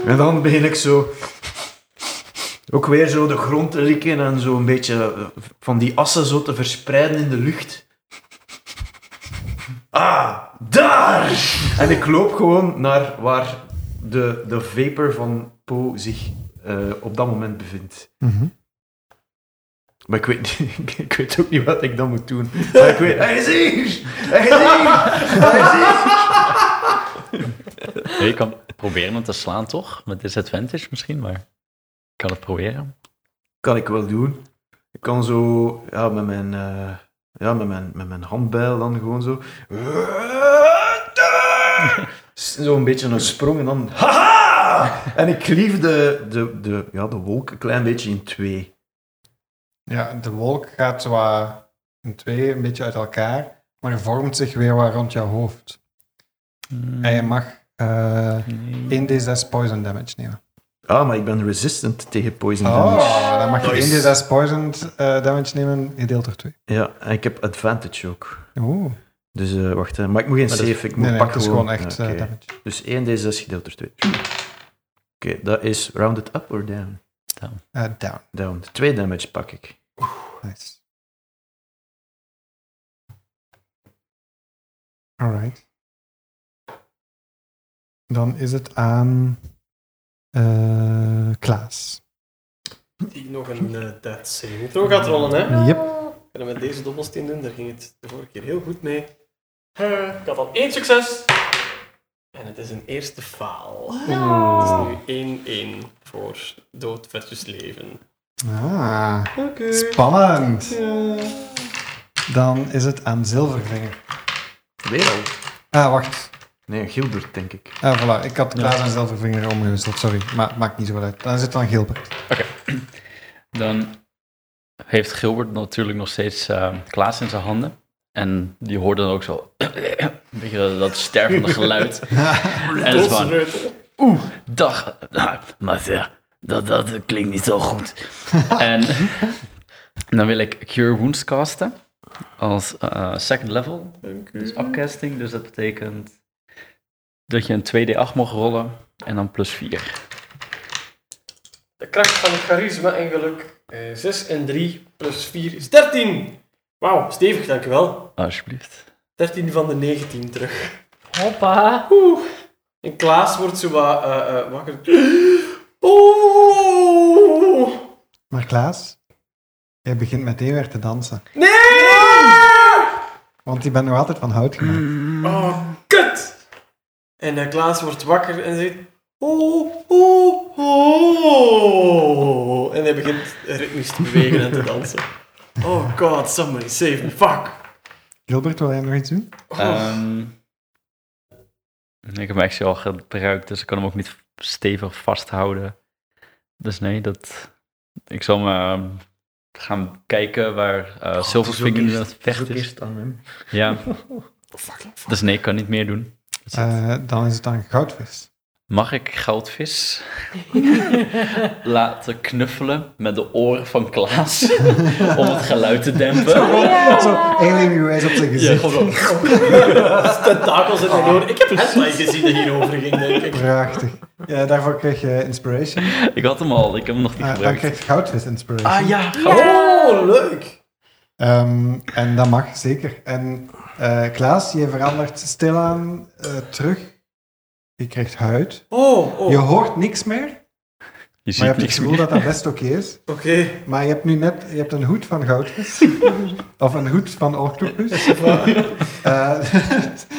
S5: en dan begin ik zo... Ook weer zo de grond te likken en zo een beetje eh, van die assen zo te verspreiden in de lucht. Ah, daar! En ik loop gewoon naar waar de, de vapor van Po zich eh, op dat moment bevindt.
S3: Mhm.
S5: Maar ik weet, niet- ik weet ook niet wat ik dan moet doen. Maar ik weet, hij is hier! Hij is hier! Hij is hier!
S4: Ja, je kan proberen hem te slaan, toch? Met disadvantage misschien, maar ik kan het proberen.
S5: Kan ik wel doen. Ik kan zo, ja, met mijn, eh, ja, met mijn, met mijn handbijl dan gewoon zo. Zo een beetje een sprong en dan. Haha! En ik klief de, de, de, ja, de wolk een klein beetje in twee.
S3: Ja, de wolk gaat zwaar in twee, een beetje uit elkaar, maar vormt zich weer wat rond jouw hoofd. En je mag eh
S4: Hmm, Nee.
S3: 1d6 poison damage nemen.
S5: Ah, maar ik ben resistant tegen poison Mm. damage.
S3: Oh, dan mag
S5: Nice.
S3: je 1d6 poison eh, damage nemen, gedeeld door 2.
S5: Ja, en ik heb advantage ook.
S3: Oeh,
S5: Dus eh, wacht, hè. maar ik moet geen
S4: Maar dat
S5: safe,
S4: is-
S5: ik moet
S3: nee, nee,
S5: pakken
S3: het is gewoon echt
S5: Ja,
S3: eh,
S5: oké.
S3: damage.
S5: Dus 1d6 gedeeld door 2. Oké, dat is rounded up or down?
S3: Eh, down.
S5: Down. 2 damage pak ik.
S3: Nice. Alright. Dan is het aan eh, Klaas.
S2: Die nog een eh dead saving throw gaat rollen, hè?
S3: Yep.
S2: En dan met deze dobbelsteen doen, daar ging het de vorige keer heel goed mee. Eh, ik had al één succes. En het is een eerste faal. Het is nu 1-1 voor dood versus leven.
S3: Ah,
S2: Oké.
S3: spannend. Dan is het aan Zilvervinger.
S5: Weer al?
S3: Ah, wacht.
S5: Nee, Gilbert, denk ik.
S3: Ah, voilà. Ik had Klaas en Zilvervinger omgewisseld, sorry. Maar maakt niet zoveel uit. Dan is het aan Gilbert.
S4: Dan heeft Gilbert natuurlijk nog steeds eh, Klaas in zijn handen. En die hoorde dan ook zo... een beetje dat, dat stervende geluid. en het is van... Oeh, dag. Ah, Maar zeg, dat, dat klinkt niet zo goed. en dan wil ik Cure Wounds casten. Als eh, second level. Dus upcasting. Dus dat betekent dat je een 2d8 mag rollen. En dan plus 4.
S2: De kracht van charisma en geluk. 6 en 3 plus 4 is 13. Wauw, stevig, dankjewel.
S4: Alsjeblieft.
S2: 13 van de 19 terug.
S1: Hoppa.
S2: Oeh. En Klaas wordt zo wat eh, eh, wakker. Oeh.
S3: Maar Klaas, jij begint meteen weer te dansen.
S2: Nee!
S3: Want je bent nog altijd van hout gemaakt.
S4: Mm.
S2: Oh, kut! En eh, Klaas wordt wakker en zegt... Oh, oh, oh. En hij begint ritmisch te bewegen en te dansen. Oh god, somebody save me, fuck. Oh,
S3: Gilbert, wil jij nog iets doen?
S4: Ehm, ik heb hem actually al gebruikt, dus ik kan hem ook niet stevig vasthouden. Dus nee, dat... Ik zal me ehm, gaan kijken waar eh Silverfinger in het vecht is.
S5: aan hem.
S4: Ja. Dus nee, ik kan niet meer doen. Dus dat-
S3: Eh, dan is het aan Goudvis.
S4: Mag ik goudvis laten knuffelen met de oren van Klaas om het geluid te dempen?
S3: Zo, alien uw wijs op zijn
S4: Ja,
S3: gezicht.
S4: gewoon zo.
S2: Tentakels in mijn oor. Ik heb Headline gezien dat hierover ging, denk ik.
S3: Prachtig. Ja, daarvoor krijg je inspiration.
S4: Ik had hem al, ik heb hem nog niet
S3: Ah, dan
S4: gebruikt.
S3: krijg je goudvis inspiration.
S4: Ah ja,
S2: Oh, leuk.
S3: Ehm, en dat mag, zeker. En eh, Klaas, je verandert stilaan eh, terug. Je krijgt huid.
S2: Oh, oh.
S3: Je hoort niks meer, maar
S4: je
S3: je
S4: ziet
S3: hebt het
S4: niks
S3: gevoel
S4: meer.
S3: dat dat best oké is.
S2: Oké.
S3: Maar je hebt nu net je hebt een hoed van goudvis. of een hoed van octopus. Eh,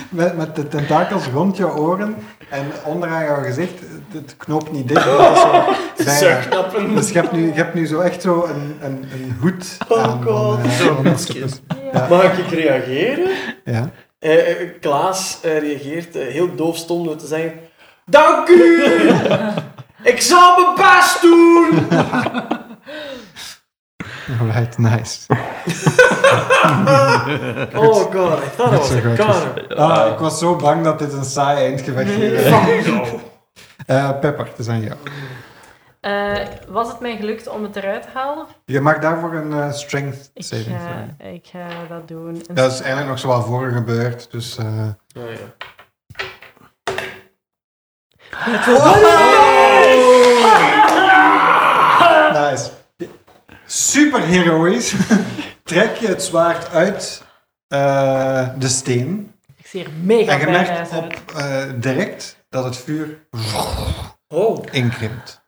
S3: met, met de tentakels rond je oren en onderaan jouw gezicht. Het, het knoopt niet dicht. maar het is zo bijna.
S2: Zuigknappen.
S3: Dus je hebt, nu, je hebt nu zo echt zo een, een, een hoed
S2: Oh
S3: aan
S2: God.
S3: van, eh,
S5: Zo'n
S3: van een octopus.
S2: Mag ik reageren?
S3: Ja.
S2: Eh, eh, Klaas eh, reageert eh, heel doofstom door te zeggen... Dank u! ik zal mijn best doen!
S3: Alright, nice.
S2: Oh god, I thought I was
S3: Goed
S2: a
S3: zo, goed
S2: car.
S3: Ah, ik was zo bang dat dit een saai eindgevecht ging worden. Eh, Pepper, het is aan jou.
S1: Eh, was het mij gelukt om het eruit te halen?
S3: Je mag daarvoor een eh, strength
S1: Ik eh,
S3: saving throw.
S1: ga, ik ga dat doen. Een
S3: Dat is eigenlijk nog zowel voor gebeurd, dus... eh,
S6: Oh, ja.
S3: Nice. Superheroïs. Trek je het zwaard uit eh, de steen.
S1: Ik zie er mega
S3: en je
S1: badass
S3: merkt op,
S1: uit.
S3: eh, direct dat het vuur
S7: Oh.
S3: inkrimpt.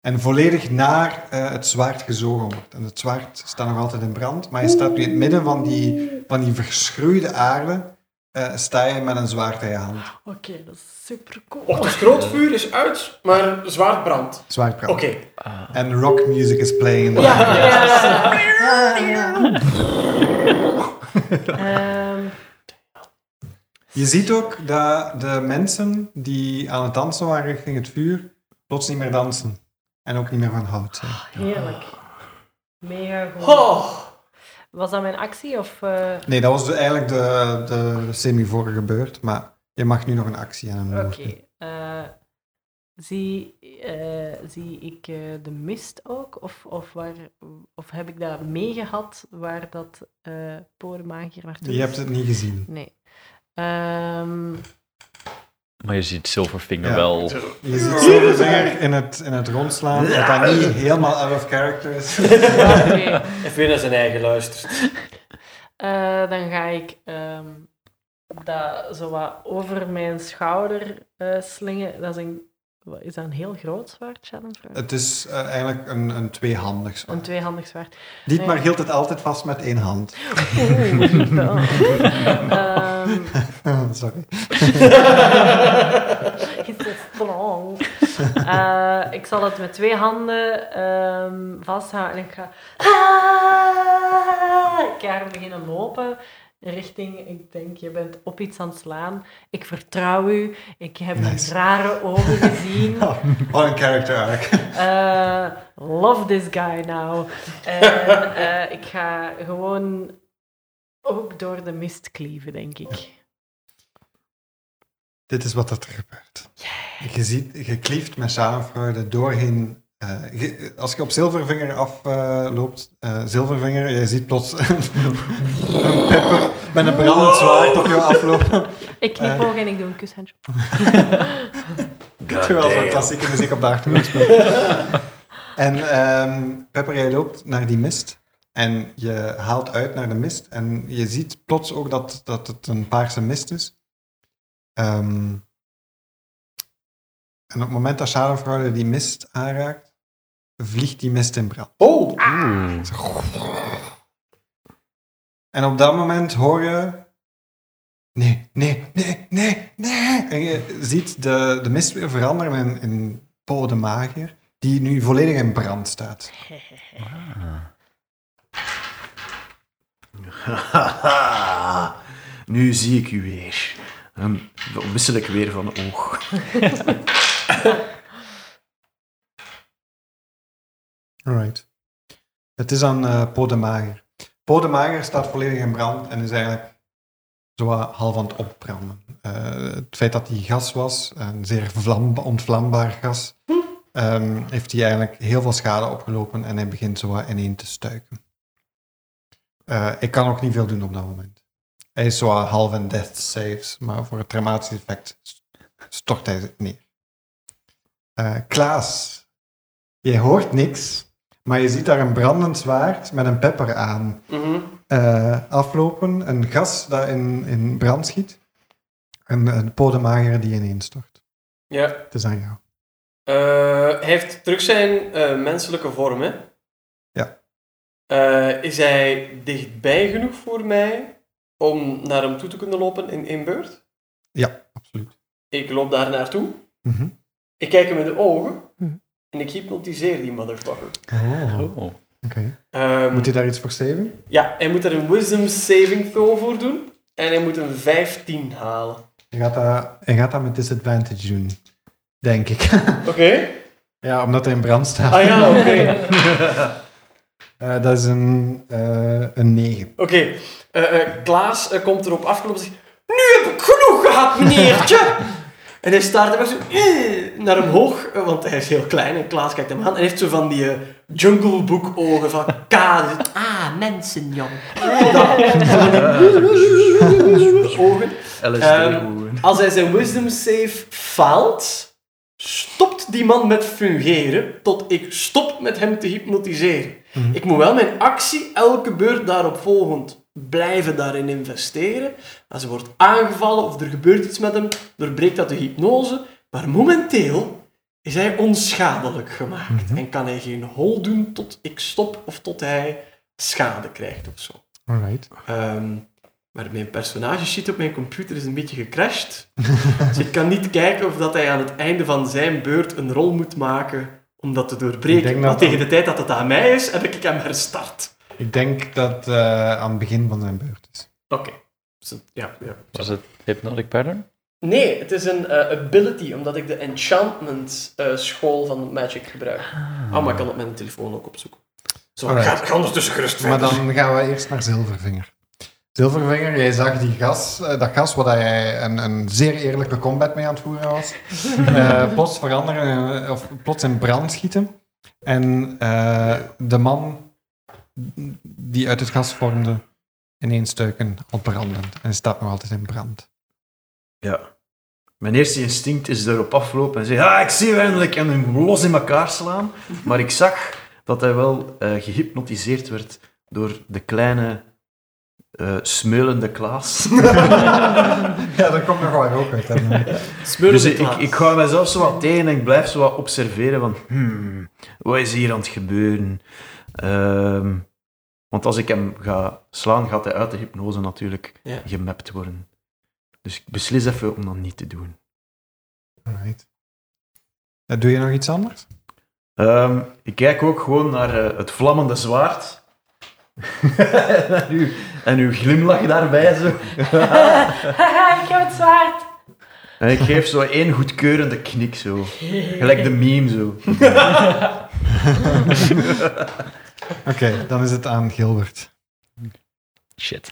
S3: En volledig naar eh, het zwaard gezogen wordt. En het zwaard staat nog altijd in brand. Maar je staat nu in het midden van die, van die verschroeide aarde. eh, sta je met een zwaard in je hand.
S1: Oké, dat is super cool.
S3: Oh.
S6: Och, het grootvuur is uit, maar zwaard brandt.
S3: Zwaard brandt.
S6: Oké.
S3: En rock music is playing. in de
S1: Ja,
S3: background.
S1: ja. Ehm,
S3: Je ziet ook dat de mensen die aan het dansen waren richting het vuur, plots niet meer dansen. En ook niet meer van hout zijn.
S1: heerlijk. Mega goed.
S2: Oh.
S1: Was dat mijn actie of... eh,
S3: Nee, dat was de- eigenlijk de, de semi-vorige beurt, maar je mag nu nog een actie aan
S1: Oké.
S3: hem
S1: eh, zie, eh, zie ik eh, de mist ook? Of, of, waar, of heb ik dat meegehad waar dat eh porenmagier naartoe
S3: Je
S1: is?
S3: hebt het niet gezien.
S1: Nee. Ehm,
S4: Maar je ziet Silverfinger
S3: Ja.
S4: wel.
S3: Je ziet Silvervinger in het, in het rondslaan, dat dat niet helemaal out of character is.
S1: oké.
S6: Even naar zijn eigen luistert.
S1: Eh, dan ga ik ehm, dat zo wat over mijn schouder eh, slingen. Dat is, een, wat- is dat een heel groot zwaard, Shannon?
S3: Het is eh, eigenlijk een, een tweehandig
S1: Een
S3: zwaard.
S1: tweehandig zwaard.
S3: Dietmar hield het altijd vast met één hand.
S1: Oeh, wel. Ehm,
S3: Sorry.
S1: It's so strong. Eh, ik zal het met twee handen ehm, vasthouden en ik ga. Ah, Ik ga er beginnen lopen richting. Ik denk, je bent op iets aan het slaan. Ik vertrouw u. Ik heb
S3: Nice.
S1: rare ogen gezien.
S3: Wat Oh, een character arc.
S1: Eh, love this guy now. En eh, ik ga gewoon ook door de mist klieven, denk ik.
S3: Dit is wat dat er gebeurt. Je ziet, je klieft met schaamfraude doorheen. eh, je- als je op Zilvervinger afloopt, eh, Zilvervinger, je ziet plots een, een pepper met een brandend zwaard op jou aflopen.
S1: Ik knip ogen en ik doe een kushandje.
S3: Terwijl zo'n klassieke muziek op de achtergrond speelt. En ehm, Pepper, jij loopt naar die mist. En je haalt uit naar de mist. En je ziet plots ook dat, dat het een paarse mist is. Ehm, en op het moment dat Schadenfraude die mist aanraakt, vliegt die mist in brand.
S7: Oh.
S3: En op dat moment hoor je... Nee, nee, nee, nee, nee. En je ziet de, de mist weer veranderen in, in Paul de Magier, die nu volledig in brand staat.
S5: Haha, nu zie ik u weer. Een onmisselijk weer van oog.
S3: Alright. Het is aan eh Paul de Magier. Paul de Magier staat volledig in brand en is eigenlijk zo wat half aan het opbranden. Eh, het feit dat hij gas was, een zeer vlam, ontvlambaar gas, ehm, heeft hij eigenlijk heel veel schade opgelopen en hij begint zo wat ineen te stuiken. Eh, ik kan ook niet veel doen op dat moment. Hij is zo wat half in death saves, maar voor het traumatische effect stort hij zich neer. Eh, Klaas, je hoort niks, maar je ziet daar een brandend zwaard met een pepper aan eh, aflopen. Een gas dat in, in brand schiet. En een podemager die ineenstort.
S6: Ja.
S3: Het is aan jou.
S6: Eh, hij heeft terug zijn eh, menselijke vorm, hè?
S3: Ja.
S6: Eh, is hij dichtbij genoeg voor mij om naar hem toe te kunnen lopen in één beurt?
S3: Absoluut.
S6: Ik loop daar naartoe.
S3: Mhm.
S6: Ik kijk hem in de ogen.
S1: Hm.
S6: En ik hypnotiseer die motherfucker.
S3: Oh, oké.
S4: Oh.
S6: Ehm,
S3: Moet je daar iets voor steven?
S6: Ja, hij moet er een wisdom saving throw voor doen. En hij moet een 15 halen.
S3: Je gaat dat, je gaat dat met disadvantage doen. Denk ik.
S6: Oké.
S3: ja, omdat hij in brand staat.
S6: Ah ja, oké.
S3: Eh, dat is een, eh een 9.
S6: Oké, eh, eh, Klaas eh, komt erop afgelopen en zegt... Nu heb ik genoeg gehad, meneertje!
S2: En hij staart hem echt zo eh, naar omhoog, eh, want hij is heel klein en Klaas kijkt hem aan. En hij heeft zo van die eh, Jungle Book ogen van K. Ah, mensen, jong. ogen.
S5: LSD.
S2: Ehm,
S5: hoeren.
S2: Als hij zijn wisdom save faalt, stopt die man met fungeren tot ik stop met hem te hypnotiseren. Ik moet wel mijn actie elke beurt daarop volgend blijven daarin investeren. Als hij wordt aangevallen of er gebeurt iets met hem, doorbreekt dat de hypnose. Maar momenteel is hij onschadelijk gemaakt en kan hij geen hol doen tot ik stop of tot hij schade krijgt of zo.
S3: Alright.
S2: Ehm, maar mijn personage sheet op mijn computer is een beetje gecrashed. dus ik kan niet kijken of dat hij aan het einde van zijn beurt een rol moet maken om dat te
S3: Ik
S2: doorbreken.
S3: denk
S2: Want
S3: dat
S2: tegen
S3: dan-
S2: de tijd dat het aan mij is, heb ik hem herstart.
S3: Ik denk dat eh, aan het begin van zijn beurt is.
S2: Oké. Dus een- Ja, ja.
S4: Was het Hypnotic Pattern?
S2: Nee, het is een eh, ability, omdat ik de enchantment eh, school van Magic gebruik. Ah, maar ik kan op mijn telefoon ook opzoeken. Zo,
S3: Alright.
S2: ga, ga ondertussen gerust
S3: Maar
S2: verder.
S3: dan gaan we eerst naar Zilvervinger. Zilvervinger, jij zag die gas, eh, dat gas waar dat jij een, een zeer eerlijke combat mee aan het voeren was, eh, plots veranderen eh, of plots in brand schieten. En eh, de man die uit het gas vormde, ineens stuiken al brandend. En staat nog altijd in brand.
S5: Ja. Mijn eerste instinct is erop aflopen en zeggen: Ah, ik zie u eindelijk! En hem los in elkaar slaan. Maar ik zag dat hij wel eh, gehypnotiseerd werd door de kleine, eh smeulende Klaas.
S3: Ja, dat komt nog wel ook uit.
S5: dus ik, ik ga mezelf zo wat tegen en ik blijf zo wat observeren: van, Hmm, wat is hier aan het gebeuren? Ehm, want als ik hem ga slaan, gaat hij uit de hypnose natuurlijk
S2: Ja.
S5: gemapt worden. Dus ik beslis even om dat niet te doen.
S3: Alright. Eh, Doe je nog iets anders?
S5: Ehm, ik kijk ook gewoon naar eh, het vlammende zwaard. en, uw, en uw glimlach daarbij zo.
S1: Haha, ik heb het zwaard.
S5: En ik geef zo één goedkeurende knik zo. Gelijk de meme zo.
S3: Oké, dan is het aan Gilbert.
S4: Shit.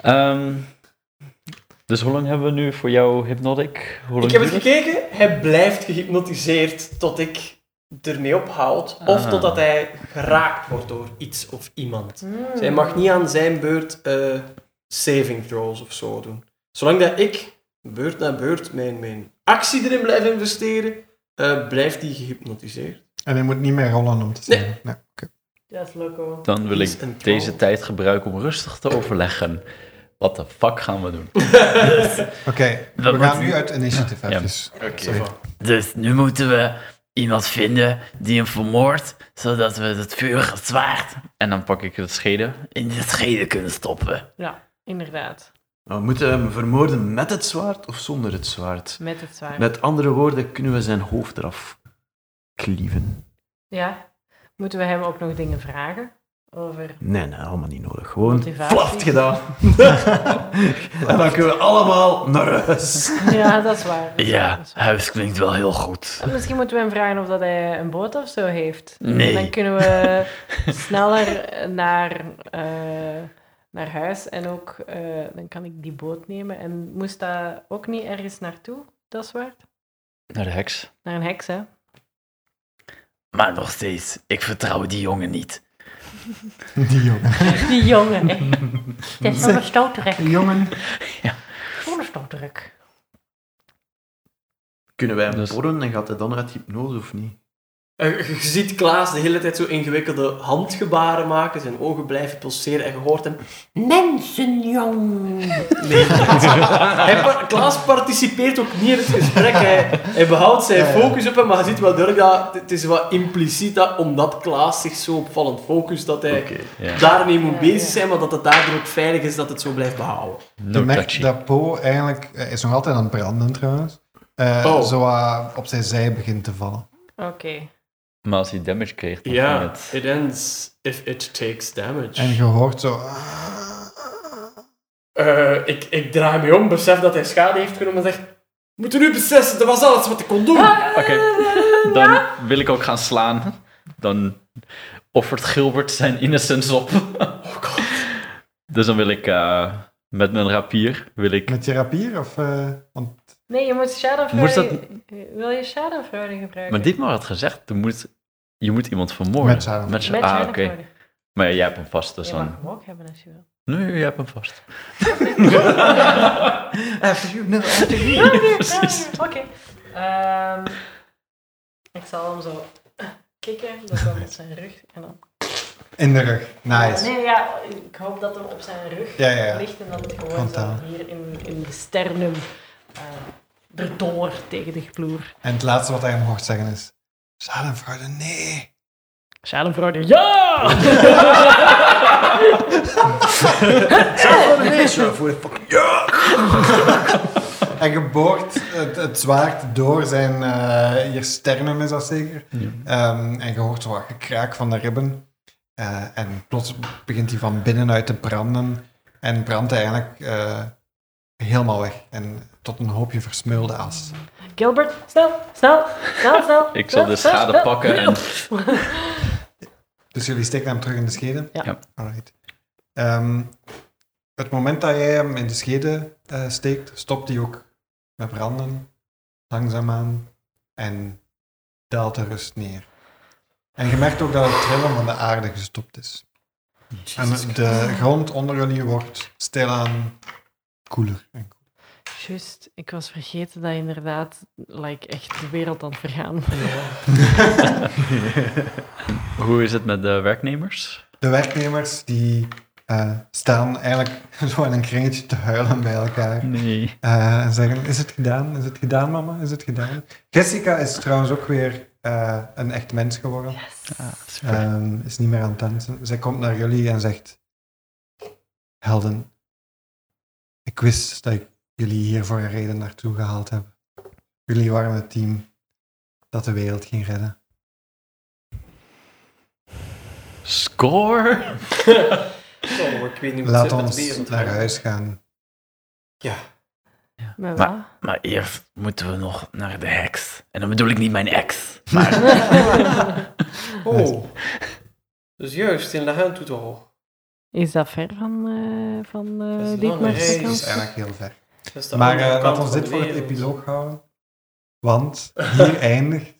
S4: Ehm, dus hoe lang hebben we nu voor jou Hypnotic? Hoe lang
S2: Ik heb het
S4: duurt
S2: gekeken, hij blijft gehypnotiseerd tot ik ermee ophoud. Of
S4: Ah.
S2: totdat hij geraakt wordt door iets of iemand.
S1: Hmm. Mm.
S2: Dus hij mag niet aan zijn beurt eh, saving throws of zo doen. Zolang dat ik beurt na beurt mijn, mijn actie erin blijf investeren, eh, blijft hij gehypnotiseerd.
S3: En hij moet niet meer rollen om te
S2: Nee.
S3: zeggen. Nee. oké.
S1: Dat is loco.
S4: Dan wil
S2: Peace and
S4: ik deze
S2: troll.
S4: tijd gebruiken om rustig te overleggen. Wat de fuck gaan we doen?
S3: Oké, we gaan nu uit initiatief
S4: Ja.
S3: even.
S9: Dus nu moeten we iemand vinden die hem vermoordt, zodat we het vuurige zwaard
S4: En dan pak ik het scheden.
S9: in de schede kunnen stoppen.
S1: Ja, inderdaad.
S5: Nou, we moeten hem vermoorden met het zwaard of zonder het zwaard?
S1: Met het zwaard.
S5: Met andere woorden, kunnen we zijn hoofd eraf klieven?
S1: Ja. Moeten we hem ook nog dingen vragen? Over...
S5: Nee, nee, allemaal niet nodig. Gewoon
S1: Motivatie.
S5: flaft gedaan. en dan kunnen we allemaal naar huis.
S1: Ja, dat is waar. dat is waar,
S9: Ja,
S1: dat is waar.
S9: huis klinkt wel heel goed.
S1: En Misschien moeten we hem vragen of dat hij een boot of zo heeft.
S9: Nee.
S1: Dan kunnen we sneller naar, eh, naar huis en ook eh, dan kan ik die boot nemen. En moest dat ook niet ergens naartoe, dat is waar?
S4: Naar de heks.
S1: Naar een heks, hè?
S9: Maar nog steeds, ik vertrouw die jongen niet.
S3: Die jongen.
S1: Die jongen, hè? Dat is een stouterek.
S3: jongen.
S1: Zo'n stouterek.
S5: Kunnen wij hem
S4: Dus-
S5: worden en gaat hij dan uit hypnose of niet?
S2: Eh, je- je ziet Klaas de hele tijd zo ingewikkelde handgebaren maken, zijn ogen blijven pulseren en je hoort hem... Mensenjong! Nee, hij par- Klaas participeert ook niet in het gesprek. Hij, hij behoudt zijn focus op hem, maar je ziet wel duidelijk dat... Het is wat impliciet dat omdat Klaas zich zo opvallend focust, dat hij
S4: Ja.
S2: daarmee moet
S1: Ja,
S2: bezig
S1: ja.
S2: zijn, maar dat het daardoor ook veilig is dat het zo blijft behouden.
S3: Je
S4: No
S3: merkt
S4: touchy.
S3: dat Po eigenlijk... Hij is nog altijd aan het branden trouwens. Eh,
S2: Oh.
S3: Zo wat op zijn zij begint te vallen.
S1: Oké.
S4: Maar als hij damage kreeg, dan ging het...
S2: it ends if it takes damage.
S3: En je hoort zo... ah,
S2: Eh, ik, ik draai me om, besef dat hij schade heeft genomen en zeg... "We Moeten nu beslissen, dat was alles wat ik kon doen.
S6: Ah.
S4: Oké,
S3: Eh,
S4: dan wil ik ook gaan slaan. Dan offert Gilbert zijn innocence op.
S3: Oh
S4: Dus dan wil ik eh, met mijn rapier... Wil ik,
S3: Met je rapier? Of, eh, want
S1: Nee, je moet
S4: Moet dat-
S1: Shadowflurry... Wil je Shadowflurry gebruiken?
S4: Maar dit maar had gezegd, er moet, je moet iemand vermoorden.
S3: Met zijn.
S4: Met z'n-
S1: Met
S4: ah, oké.
S1: Shadowflurry.
S4: Maar jij hebt hem vast, dus
S1: Je
S4: dan...
S1: mag hem ook hebben als je wil.
S4: Nee, jij hebt hem vast.
S5: After you, no, after you.
S1: Ja, nee, ja, Oké. Ehm, ik zal hem zo kikken, dat dan op zijn rug. En dan...
S3: In de rug. Nice.
S1: Nee, ja, ik hoop dat hem op zijn rug
S3: Ja, ja, ja.
S1: ligt en dat het gewoon
S3: Komt
S1: zo
S3: aan.
S1: hier in, in de sternum eh, erdoor tegen de vloer.
S3: En het laatste wat hij hem hoort zeggen is... Schadenfreude, nee.
S1: Schadenfreude, ja!
S3: En je boort het, het zwaard door zijn... eh je sternum is dat zeker. Ehm, en je hoort zo wat gekraak van de ribben. Eh, en plots begint hij van binnenuit te branden. En brandt hij eigenlijk eh, helemaal weg. En tot een hoopje versmeulde as.
S1: Gilbert, snel, snel, snel, snel.
S4: Ik zal de
S1: snel,
S4: schade
S1: snel.
S4: pakken en...
S3: Dus jullie steken hem terug in de schede?
S1: Ja.
S4: Ja.
S3: Alright. Ehm, het moment dat jij hem in de schede eh, steekt, stopt hij ook met branden. Langzaamaan. En daalt de rust neer. En je merkt ook dat het trillen van de aarde gestopt is. en de grond onder jullie wordt stilaan koeler. en koeler.
S1: Juist, ik was vergeten dat inderdaad like, echt de wereld aan het vergaan.
S4: Hoe is het met de werknemers?
S3: De werknemers die eh, staan eigenlijk zo in een kringetje te huilen bij elkaar.
S4: Nee.
S3: Eh, en zeggen, is het gedaan? Is het gedaan, mama? Is het gedaan? Jessica is trouwens ook weer eh, een echt mens geworden.
S4: Ah, super.
S3: Ehm, is niet meer aan het dansen. Zij komt naar jullie en zegt, helden, ik wist dat ik jullie hier voor een reden naartoe gehaald heb. Jullie waren het team dat de wereld ging redden.
S4: Score!
S6: Oh, ik weet niet hoe het zit met
S3: Laat
S6: de
S3: ons
S6: wereld.
S3: naar huis gaan.
S1: Maar
S9: Maar-
S1: wat?
S9: Maar eerst moeten we nog naar de heks. En dan bedoel ik niet mijn ex.
S6: Oh. Dus juist, in La Hand doet al.
S1: Is dat ver van, eh van eh,
S6: Dat is een
S1: Dietmar's
S6: lange reis.
S3: Dat is
S1: vakantie?
S3: eigenlijk heel ver.
S6: Dat is de
S3: maar
S6: andere
S3: eh,
S6: kant
S3: laten we
S6: van
S3: dit
S6: de
S3: voor het
S6: wereld.
S3: epiloog houden. Want hier eindigt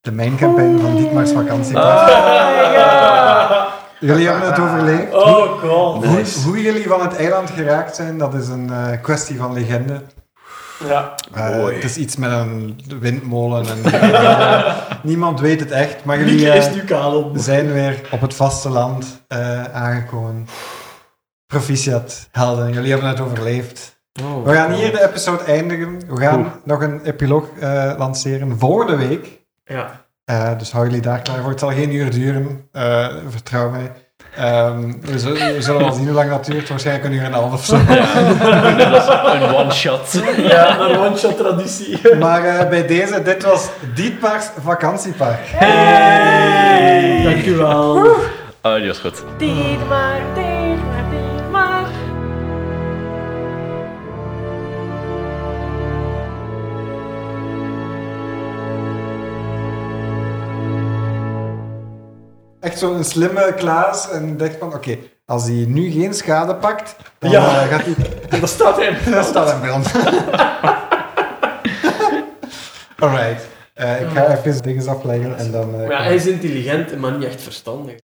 S3: de main campaign van Dietmar's vakantie.
S2: Ah.
S3: Jullie hebben het overleefd.
S6: Oh god.
S3: Hoe, hoe jullie van het eiland geraakt zijn, dat is een eh, kwestie van legende.
S6: Ja.
S3: Eh, het is iets met een windmolen. En, niemand weet het echt, maar jullie
S2: Mieke
S3: eh,
S2: is nu kaal
S3: zijn weer op het vasteland eh, aangekomen. Proficiat, helden, jullie hebben het overleefd.
S6: Oh,
S3: We gaan hier de episode eindigen. We gaan nog een epiloog eh, lanceren volgende week.
S6: Ja.
S3: Eh, dus hou jullie daar klaar voor. Het zal geen uur duren, eh, vertrouw mij. Ehm, we, zullen, we zullen wel zien hoe lang dat duurt. Waarschijnlijk een uur en een half of zo.
S4: Een one-shot.
S2: Ja, een one-shot traditie.
S3: Maar eh, bij deze, dit was Dietmar's vakantiepark.
S2: Dankjewel.
S4: Oh, die was goed.
S1: Dietmar, Dietmar, Dietmar.
S3: Echt zo'n slimme Klaas. En dacht van, oké, als hij nu geen schade pakt, dan
S2: Ja.
S3: eh, gaat hij...
S2: Dat staat in.
S3: Dat staat in brand. Alright. Eh, ik ga even dingen afleggen en dan... eh, uh,
S2: Maar ja, hij is intelligent en maar niet echt verstandig.